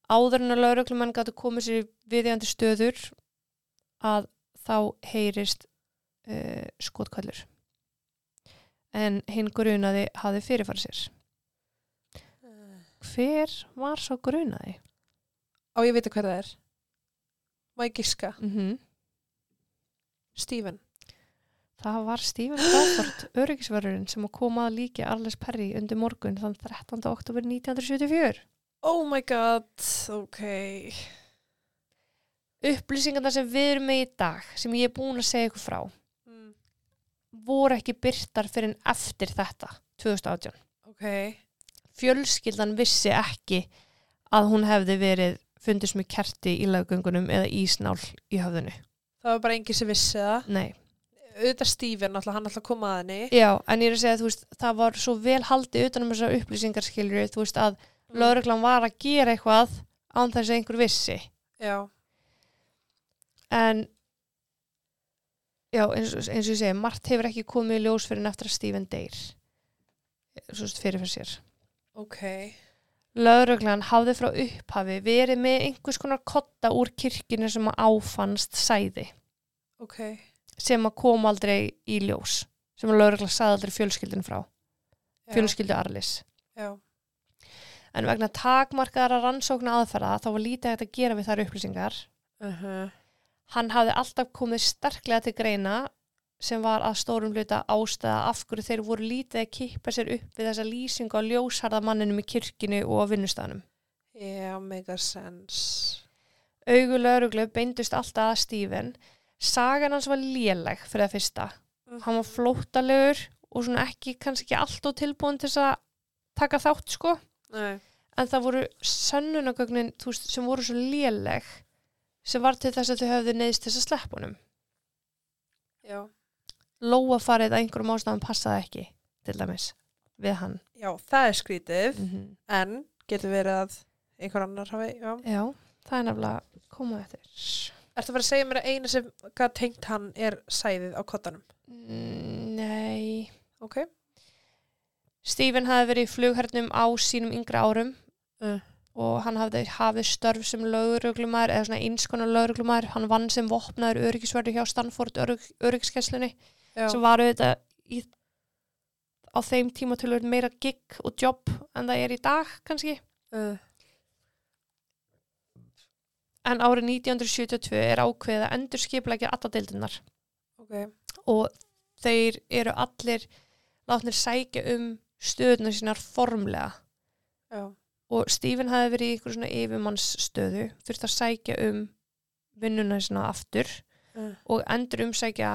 S1: Áður en að lauruglumenn gætu komið sér í viðjandi stöður að þá heyrist uh, skotkallur. En hinn grunaði hafi fyrirfæri sér.
S2: Uh.
S1: Hver var svo grunaði?
S2: Á, ég veit hver það er. Má ég giska?
S1: Mm
S2: Stephen.
S1: Það var Stephen Crawford, öryggisverðurinn sem að koma að líka Arles Perry undir morgun þann 13. oktober 1974.
S2: Oh my god, ok.
S1: Upplýsingarna sem við erum með í dag, sem ég er búin að segja ykkur frá,
S2: Mm.
S1: voru ekki byrtar fyrir en eftir þetta, 2018.
S2: Ok,
S1: Fjölskyldan vissi ekki að hún hefði verið fundist með kerti í laggöngunum eða ísnál í höfðinu.
S2: það var bara engin sem vissi það.
S1: Nei.
S2: Auðvitað Stephen, alltaf, hann alltaf kom að henni.
S1: Já, en ég er að segja að þú veist, það var svo vel haldið utanum þessar upplýsingarskilur, þú veist að
S2: Mm.
S1: lögreglan var að gera eitthvað án þess að einhver vissi.
S2: Já,
S1: en já, eins, og- eins og ég segi margt hefur ekki komið í ljós fyrir en eftir að Stephen deyr svo sagt fyrir fyrir sér
S2: ok.
S1: Lauruglan hafði frá upphafi verið með einhvers konar kotta úr kirkinu sem að áfannst sæði
S2: Ok,
S1: sem að kom aldrei í ljós sem að lauruglan sagði aldrei fjölskyldin frá
S2: já,
S1: fjölskyldu Arlis
S2: já,
S1: en vegna takmarkaðara rannsókna aðferða þá var lítið hægt að gera við þar upplýsingar
S2: uh
S1: Uh-huh. hann hafði alltaf komið sterklega til greina sem var að stórum hluta ástæða af hverju þeir voru lítið að kippa sér upp við þessa lýsingu á ljósharða manninum í kirkinu og á vinnustæðanum.
S2: já, mega sense.
S1: Augu lauruglu beindust alltaf að Stephen. Sagan hans var léleg fyrir það fyrsta. Hann var flóttalegur og svona ekki, kannski ekki allt og tilbúin til þess að taka þátt sko.
S2: Nei,
S1: En það voru sönnunagögnin þú veist, sem voru svo léleg sem var til þess að þau höfðu neðist þess að sleppa honum.
S2: já.
S1: lóafarið að einhverjum ástæðum passaði ekki til dæmis við hann
S2: Já, það er skrítið,
S1: mm
S2: en getur verið að einhver annar hafi, já.
S1: já, það er nefnilega komað eftir
S2: Ertu að fara að segja mér að eina sem gæt tengt hann er sæðið á kottanum?
S1: Mm, nei
S2: Ok.
S1: Stephen hafði verið í flughernum á sínum yngri árum
S2: Mm.
S1: og hann hafði hafið störf sem lögreglumæður eða svona einskonar lögreglumæður hann vann sem vopnaður öryggisverður hjá Stanford örygg, öryggiskesslunni
S2: Já,
S1: sem var auðvitað í, á þeim tíma til meira gig og uh. jobb en það er í dag kannski
S2: uh,
S1: en árið 1972 er ákveðið að endur skipleggja alla deildunar
S2: ok,
S1: og þeir eru allir látnir sækja um stöðuna sínar formlega
S2: já,
S1: og Stephen hafi verið í ykkur svona yfirmannsstöðu þurfti að sækja um vinnuna sína aftur
S2: Mm.
S1: og endur umsækja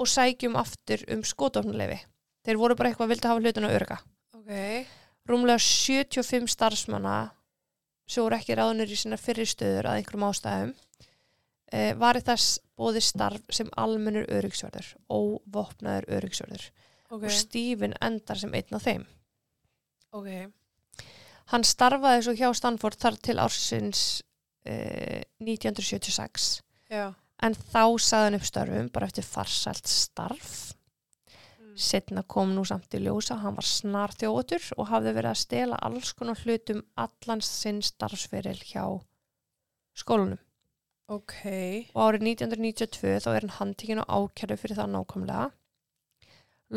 S1: og sækjum aftur um skotofnuleifi þeir voru bara eitthvað að vildi hafa hlutuna örga
S2: ok
S1: rúmlega 75 starfsmanna sem voru ekki ráðnir í sína fyrirstöður að einhverjum ástæðum e, var í þess bóði starf sem almennur öryggsverður óvopnaður öryggsverður
S2: ok,
S1: og Stephen endar sem einn af þeim
S2: ok
S1: Hann starfaði svo hjá Stanford þar til ársins eh, 1976
S2: já,
S1: en þá saði hann upp störfum bara eftir farsælt starf.
S2: mm.
S1: Setna kom nú samt í ljósa, hann var snar þjóður og hafði verið að stela alls konar hlutum allan sinn starfsferil hjá skólanum.
S2: Mm. ok
S1: og árið 1992 þá er hann handtíkin og ákjörðu fyrir það nákvæmlega.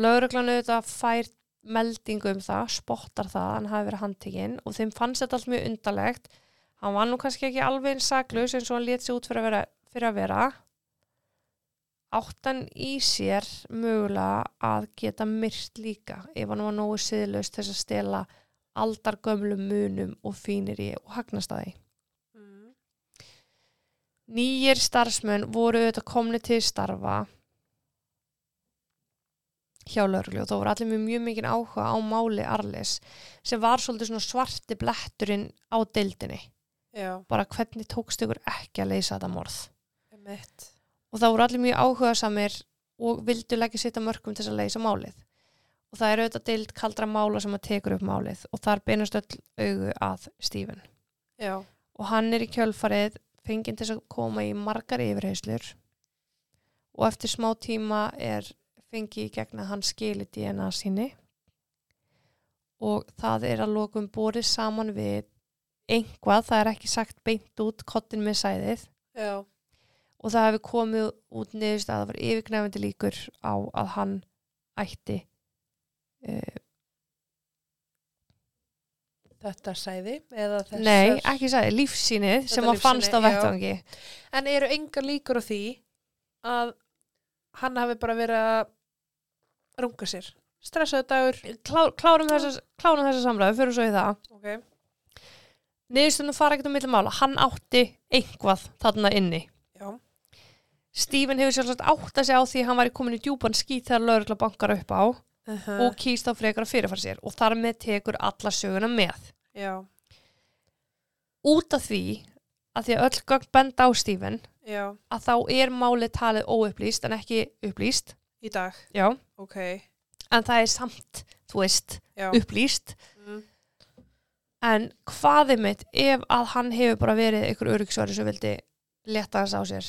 S1: Lögreglan auðvitað fær meldingu um það, spottar það að hann hafi verið handtíkin og þeim fannst þetta allt mjög undarlegt. Hann var nú kannski ekki alveg eins saklaus eins og hann lét sig út fyrir að vera, fyrir að vera. áttan í sér mögulega að geta myrt líka ef hann var nógu siðlaus til þess að stela aldargömlum munum og fínir í og hagnast að því.
S2: mm.
S1: Nýjir starfsmenn voru auðvitað komni til starfa hjá lörglu og þá voru allir með mjög mikið áhuga á máli Arlis sem var svolítið svona svarti bletturinn á deildinni.
S2: já,
S1: Bara hvernig tókst ykkur ekki að leysa þetta morð.
S2: emitt
S1: Og þá voru allir mjög áhuga samir og vildu leggja sitt að mörgum til þess að leysa málið. Og það er auðvitað deild kaldra mála sem að tekur upp málið og þar beinast öll augu að Stífun
S2: já,
S1: og hann er í kjölfarið fenginn til þess að koma í margar yfirheyslur og eftir smá tíma er fengið í gegn að hann skili DNA síni og það er að lokum borið saman við einhvað, það er ekki sagt beint út kottin með sæðið
S2: já,
S1: og það hefur komið út niðurst að það var yfirgnæfandi líkur á að hann ætti uh,
S2: þetta sæði eða þessar
S1: nei, ekki sæði, lífsýnið sem
S2: Þetta
S1: hann fannst á
S2: lífsýni, já.
S1: vettvangi
S2: En eru engar líkur á því að hann hafi bara verið að runga sér? Stressaðu dagur?
S1: Klá, klárum þessa, klárum þessa samræðu, fyrir svo í það
S2: Ok.
S1: niðurstunum fara ekkert á milli mála hann átti einhvað þarna inni
S2: Já.
S1: Stephen hefur sjálfsagt átt að segja á því að hann væri komin í djúpan skýt þegar lögregla bankar upp á
S2: Eh. Uh-huh.
S1: og kýst á frekar að fyrirfara sér og þar með tekur alla söguna með
S2: Já,
S1: út af því að því að öll gögn benda á Stephen
S2: já,
S1: að þá er málið talið óupplýst en ekki upplýst
S2: í dag.
S1: já.
S2: Ok,
S1: en það er samt, þú veist,
S2: já.
S1: upplýst
S2: Mm.
S1: en hvaðið mitt ef að hann hefur bara verið ykkur öryggsværi sem vildi leta hans á sér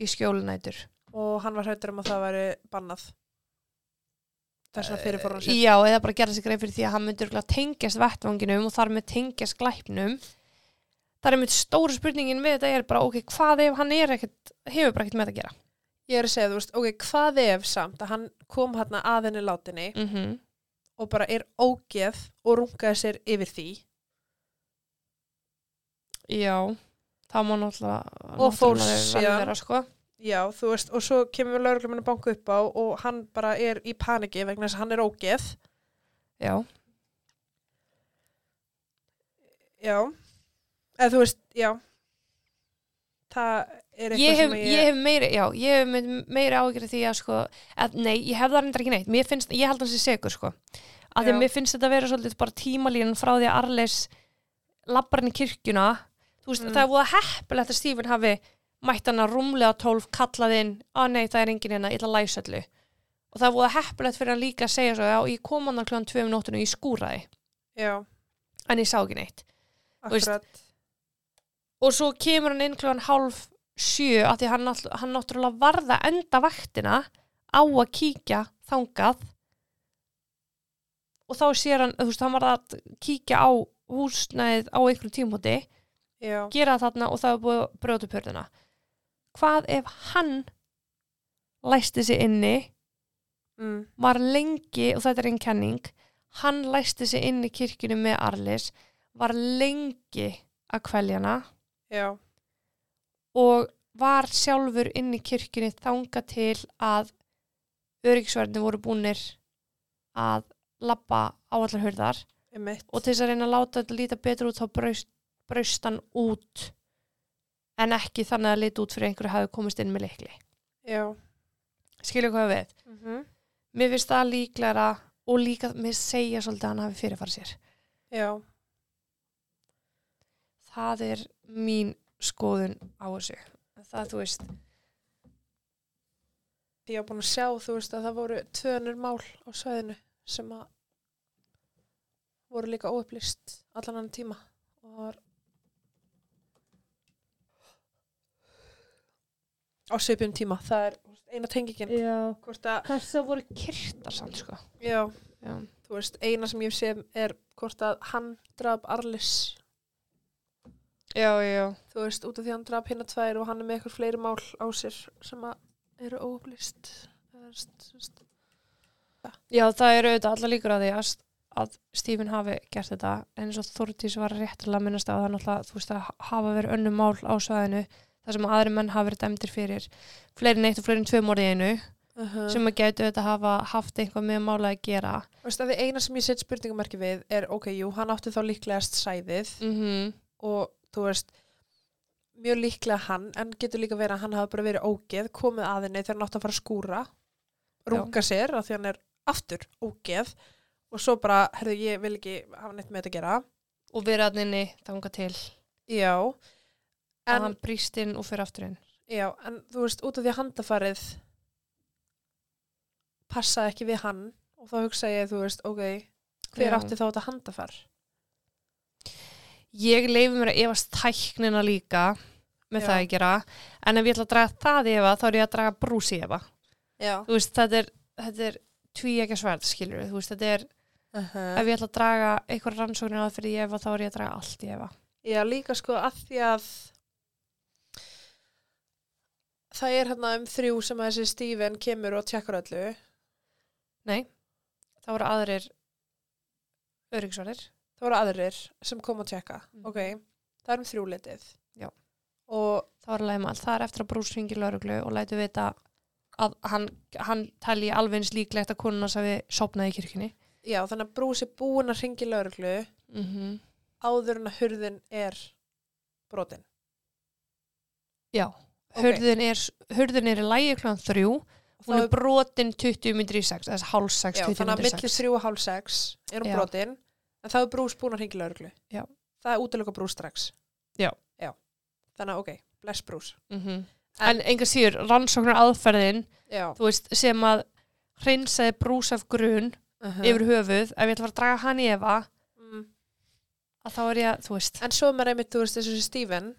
S1: í skjólinætur
S2: Og hann var hrættur um að það væri bannað. Þess að fyrirfóra hann sér.
S1: Já, eða bara gera sér greið fyrir því að hann myndi örugglega tengjast vettvanginum og þar með tengjast glæpnum. Það er einmitt stóru spurningin við þetta er bara, ok, hvað ef hann er ekkert, hefur bara ekkert með þetta að gera?
S2: Ég er að segja, þú veist, ok, hvað ef samt að hann kom hann að henni látinni
S1: Mm -hmm.
S2: og bara er ógeð og rungaði sér yfir því
S1: Já, það má náttúrulega,
S2: Og fór
S1: náttúrulega vel
S2: síðan.
S1: vera, sko.
S2: Já, þú veist, og svo kemur lögreglum að banka upp á og hann bara er í paniki vegna þess að hann er ógeð
S1: Já,
S2: Já, eða þú veist, já Það er eitthvað
S1: ég hef,
S2: sem
S1: ég... hef meiri, já, ég hef mynd- meiri áhyggjur af því að, sko, að nei, ég hef það reyndar ekki neitt. Mér finnst, ég held hans í segur, sko. Af því
S2: Já.
S1: að mér finnst þetta vera svolítið bara tímalínan frá því að Arleis labbar hann í kirkjuna þú veist,
S2: Mm.
S1: það er voða heppilegt að Stephen hafi mætt hann að rúmlega tólf kallað inn, að nei, það er engin hérna, ég ætla að læsa öllu og það er voða heppilegt fyrir hann líka að segja svo, já, ég kom hann að kljóðan tveim nóttunum, ég skúraði,
S2: Já,
S1: en ég sá ekki neitt veist-
S2: akkurat
S1: og svo kemur hann inn kljóðan hálf sjö, af því hann, all, hann náttúrulega varða enda vaktina á að kíkja þangað og þá sér hann, þú veist, hann var að kíkja á húsnæðið á einhverjum tímhóti
S2: Já,
S1: gera það þarna og það er búið að brjóta upp hörðina hvað ef hann læsti sig inni
S2: mm,
S1: var lengi, og þetta er einn kenning hann læsti sig inni í kirkjunni með Arlis var lengi að kvelja hana
S2: já,
S1: og var sjálfur inn í kirkjunni þanga til að öryggisverðin voru búnir að labba á allar hurðar
S2: emitt.
S1: og til þess að reyna að láta þetta líta betur út þá braust, braust hann út en ekki þannig að lita út fyrir einhverju hafi komist inn með leikli.
S2: Já.
S1: Skilja hvað ég á við.
S2: Mm
S1: Mér finnst það líklega og líka mér segja svolítið að hann hafi fyrirfara sér.
S2: Já,
S1: það er mín skoðun á þessu það þú veist
S2: ég var búin að sjá, þú veist, að það voru tvönur mál á svæðinu sem að voru líka óupplýst allan annan tíma og það var á sveipum tíma, það er þú veist, eina tengingin
S1: já.
S2: hvort að,
S1: þess að voru kyrtar sann sko
S2: já,
S1: já.
S2: þú veist, eina sem ég sé er hvort að hann draf Arlis
S1: já, já,
S2: þú veist, út af því að hann draf hérna tvær og hann er með eitthvað fleiri mál á sér sem að eru óupplýst það er, þú veist,
S1: það eru auðvitað allar líkur að því að, að Stephen hafi gert þetta en eins og Þordís var réttilega að minnast á það náttúrulega, þú veist, að hafa verið önnum mál á svæðinu, þar sem aðri menn hafa verið dæmdir fyrir fleiri neitt og fleiri en tvö morði einu,
S2: uh -huh.
S1: sem að gætu auðvitað hafa haft eitthvað með mála að gera
S2: Þú veist að því eina sem ég set spurningumarki við er, ok, jú, hann átti þá líklegast sæðið
S1: mm
S2: Mhm.
S1: -hmm.
S2: og þú veist, mjög líklega hann, en getur líka verið að hann hafa bara verið ógeð, komið að henni þegar hann átti að fara að skúra, runga sér af því hann er aftur ógeð og svo bara, herðu, ég vil ekki hafa neitt með þetta að gera.
S1: og verið að nynni þanga til
S2: Já,
S1: að
S2: en,
S1: hann brýst inn og fyrir aftur inn
S2: já, en þú veist, út af því að handafarið passaði ekki við hann og þá hugsa ég, þú veist, ok, hver
S1: Já.
S2: átti þá þetta handafar?
S1: ég leifi mér að efast tæknina líka með
S2: Já.
S1: það að gera en ef ég ætla að draga það í efa þá er ég að draga brúsi í efa
S2: Já.
S1: þú veist þetta er, þetta er tví ekki svært skilur þú veist þetta er
S2: Uh -huh.
S1: ef ég ætla að draga einhver rannsóknir að fyrir í efa þá er ég að draga allt í efa
S2: Já, líka sko að því að það er hérna um þrjú sem að þessi Steven kemur og tjekkar öllu.
S1: þá eru aðrir öryggsvarðir
S2: Það voru aðrir sem kom og tjekka.
S1: Mhm.
S2: Ok, það er um þrjú litið.
S1: Já.
S2: Og,
S1: þá er alveg mál, það er eftir að brúsi hringi lauruglu og lætu vita að hann, hann telji alveg eins líklegt að konuna sem við sopnaði í kirkjunni
S2: já, þannig að Bruce er búin að ringi lauruglu
S1: mm
S2: Mhm.
S1: -hmm.
S2: áður en að hurðin er brotin.
S1: já,
S2: Ok.
S1: hurðin er hurðin er í lægi kljóðan þrjú
S2: Og
S1: Hún
S2: þá
S1: er brotin 20 myndir í 6, þess háls 6,
S2: já,
S1: 20
S2: þannig að
S1: myndir
S2: millir
S1: 6.
S2: þrjú og hálf sex er hún
S1: Já.
S2: brotin, en þá er Bruce búin að ringi lauruglu.
S1: Já.
S2: Það er útilega Bruce strax.
S1: Já.
S2: Já. Þannig að, ok, bless Bruce.
S1: Mm
S2: En-
S1: En enga síður, rannsóknar aðferðin,
S2: Já.
S1: þú veist, sem að hreinsaði brús af grun
S2: Uh -huh.
S1: yfir höfuð, ef ég ætla að fara að draga hann í efa,
S2: mm.
S1: að þá er ég, að, þú veist,
S2: En svo er maður einmitt, þú veist, þessu Steven,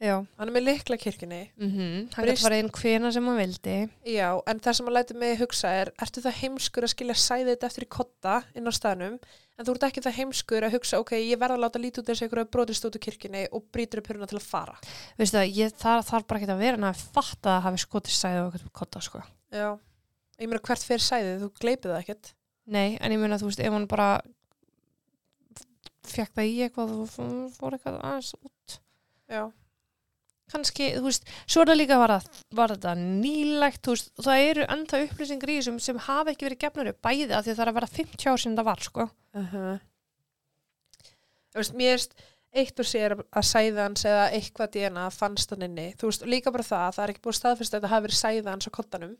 S1: já,
S2: hann er með likla kirkjunni,
S1: mm hann
S2: Brist-
S1: gæti farið inn hvena sem hann vildi.
S2: já, en það sem hann lætur mig hugsa er, ertu það heimskur að skilja sæðið þetta eftir í kotta inn á staðnum, en þú ert ekki það heimskur að hugsa, ok, ég verða að láta lítið út þessu ykkur að brotist út úr kirkjunni og brýtur upp hurna til að fara.
S1: Veistu það, ég, það þarf bara ekki að vera hann að fatta að hafi skotið sæði og eitthvað kotta, sko.
S2: Já. Ég meina hvert fer sæðið, þú gleipið það ekkert.
S1: Nei, en ég meina, þú veist, ef hann bara fekk það í eitthvað og f- fór eitthvað aðeins út.
S2: Já.
S1: kannski, þú veist, svo er það líka var, að, var þetta nýlegt, þú veist, það eru enda upplýsingar í þessum sem hafa ekki verið gefnur upp bæði af því að það er að vera 50 ár sinni það var, sko.
S2: Uh Þú veist, mér erst eitt og sér að sæðans eða eitthvað DNA fannst hann inni. Þú veist, og líka bara það, það er ekki búið staðfyrst að þetta hafi verið sæðans á kottanum.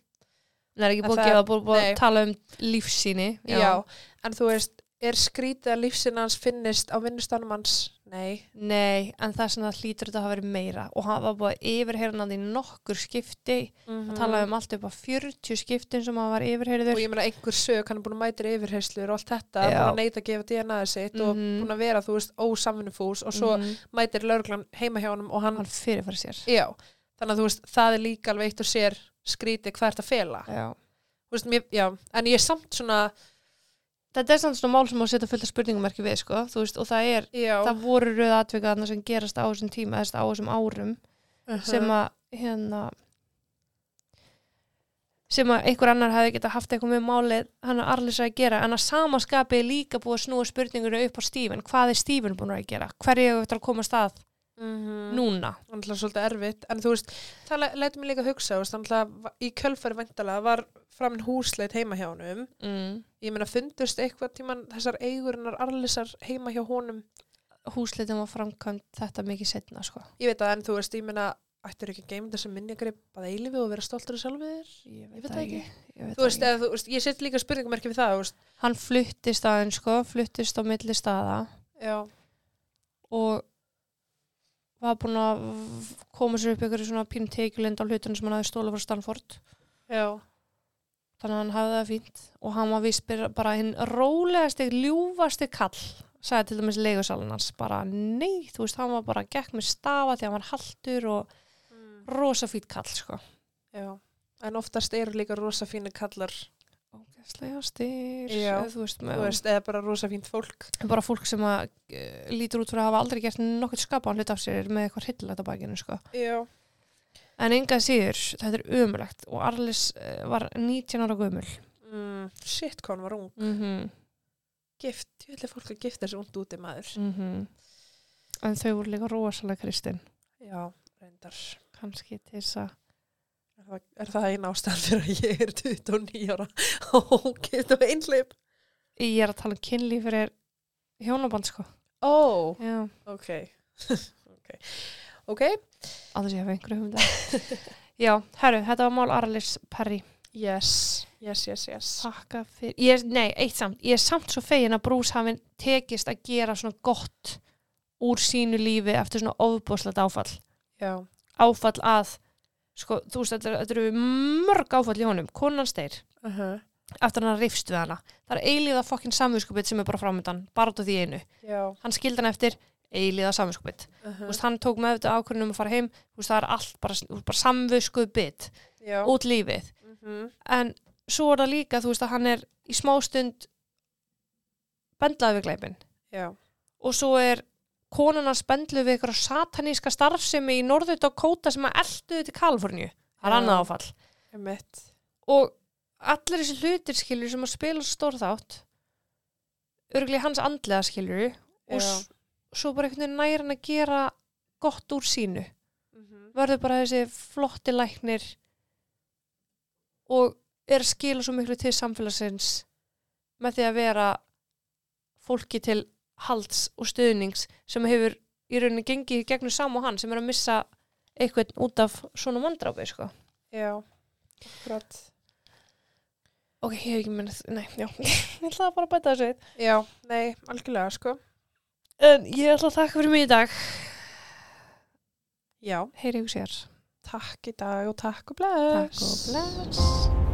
S1: Það er ekki
S2: En
S1: búið
S2: það-
S1: að gefa, búið, búið
S2: nei.
S1: að tala um lífsýni.
S2: já. en þú veist, er skrítið að lífsinn hans finnist á vinnustanum hans? Nei.
S1: Nei, en það er svona að hlýtur þetta að hafa verið meira og hann var búið að yfirheyra hann í nokkur skipti,
S2: Mm
S1: mm. talaði um allt upp á 40 skiptin sem hann var
S2: Og
S1: yfirheyriður.
S2: ég meina einhver sög, hann er búin að mæta í yfirheyslur og allt þetta,
S1: Já.
S2: búin að neita að gefa DNA-ið sitt og
S1: Mhm.
S2: búin að vera, þú veist, ósamvinnufús og svo
S1: Mhm.
S2: mætir lauruglan heima hjá honum og hann,
S1: hann fyrirfæri sér.
S2: já, þannig að þú veist, það er líka alveg eitt og sér skrítið hvað er þetta að fela.
S1: Já.
S2: Þú veist, mér, já, en ég er samt svona,
S1: Þetta er samt svona mál sem má setja fullt af spurningumarki við, sko, þú veist, og það er
S2: já,
S1: það voru rauð atvikaðna sem gerast á þessum tíma, þess á þessum árum
S2: Uh-huh.
S1: sem að hérna sem að einhver annar hefði geta haft eitthvað með málið hann að Arlisa að gera en að samaskapi er líka búið að snúa spurningunni upp á Stífin hvað er Stífin búin að gera? Hverju hefur eftir að koma að stað
S2: -hmm.
S1: núna.
S2: Þannig svolítið erfitt, en þú veist, það leitt mér líka að hugsa, þú veist, þannig í kjölfæri væntalega var framin húsleit heima hjá honum.
S1: Mm.
S2: Ég meina, fundust eitthvað tíman þessar eigurinnar arlisar heima hjá honum?
S1: Húsleitin var framkvæmt þetta mikið setna, sko.
S2: Ég veit að, en þú veist, ég meina, ættir ekki að geima þessi minningar í bara eilifu og vera stoltur af sjálfu þér?
S1: Ég
S2: veit það ekki.
S1: Ég veit
S2: Þú
S1: það
S2: veist, eh,
S1: ekki.
S2: eða, þú veist, ég set líka spurningumerki við það, þú veist,
S1: Hann fluttist aðeins, sko, fluttist á milli staða
S2: já,
S1: og var búin að koma sér upp ykkur svona pínu teikulind á hlutunum sem hann hafði stóla frá Stanford.
S2: já,
S1: Þannig að hann hafði það fínt og hann var vist bara hinn rólegasti, ljúfasti kall, sagði til dæmis leigusalunars, bara nei, þú veist, hann var bara gekk með stafa því að hann var haldur og
S2: mm.
S1: rosa fýtt kall, sko.
S2: já. En oftast eru líka rosa fínu kallar,
S1: Ógæslega styr,
S2: Já,
S1: þú veist,
S2: þú
S1: með,
S2: veist, eða bara rosa fínt fólk.
S1: bara fólk sem að, uh, lítur út fyrir að hafa aldrei gert nokkert skapaðan hlut af sér með eitthvað hryllilegt á bakinu, sko.
S2: Já,
S1: En enga síður, þetta er ömulegt og Arlis uh, var 19 ára gömul.
S2: mm. shit, hvað hann var ung.
S1: Mm -hmm.
S2: Gift, ég vil að fólk að gifta þessi und úti maður.
S1: Mhm. En þau voru líka rosalega kristin,
S2: Já, reyndar.
S1: kannski til þess að
S2: Er það, er það einn ástæðan fyrir að ég er 29 ára [LAUGHS] og get á einleip?
S1: Ég er að tala um kynlíf fyrir hjónaband sko.
S2: Ó,
S1: Já,
S2: ok. [LAUGHS] ok. Ok,
S1: á þess að ég hef einhverju humda. um Já, herru, þetta var mál Arlis Perry.
S2: yes, yes, yes, yes.
S1: Takka fyrir, ég, nei, eitt samt, ég er samt svo fegin að Bruce hafinn tekist að gera svona gott úr sínu lífi eftir svona ofbúslegt áfall.
S2: Já,
S1: Áfall að, sko, þú veist, þetta, þetta eru mörg áfall í honum, konan steir,
S2: uh -huh.
S1: eftir hann rifst við hana. Það er eilíða fokkin samvinskupið sem er bara framöndan, bara út af því einu.
S2: já,
S1: Hann skildi hann eftir eilíða samvinskupið.
S2: uh
S1: Þú veist, hann tók með þetta ákvörðunum að fara heim Þú veist, það er allt bara, þú veist, bara samvöskuð bit
S2: já.
S1: út lífið
S2: Mm -hmm.
S1: en svo er það líka þú veist að hann er í smástund bendlaði við gleipin
S2: Já,
S1: og svo er konan hans bendluð við ykkur sataníska starfsemi í norðu Dakota sem að elduðu til Kaliforníu það er
S2: Já.
S1: annað áfall
S2: emitt.
S1: og allir þessi hlutir skilur sem að spila svo stór þátt örgli hans andlega skilur og s- svo bara einhvern veginn nær hann að gera gott úr sínu
S2: Mm
S1: verður bara þessi flotti læknir og er að skila svo miklu til samfélagsins með því að vera fólki til halds og stuðnings sem hefur í rauninni gengið í gegnum sam og hann sem er að missa eitthvað út af svona mandrápi sko.
S2: Já, akkurat.
S1: ok, ég hef ekki minnað, nei, já [LAUGHS] ég ætlaði bara að bæta þessu eitt.
S2: Já, nei, algjörlega, sko.
S1: en ég ætla að þakka fyrir mig í dag
S2: Já,
S1: heyri ykkur sér
S2: takk í dag og takk og bless.
S1: takk og bless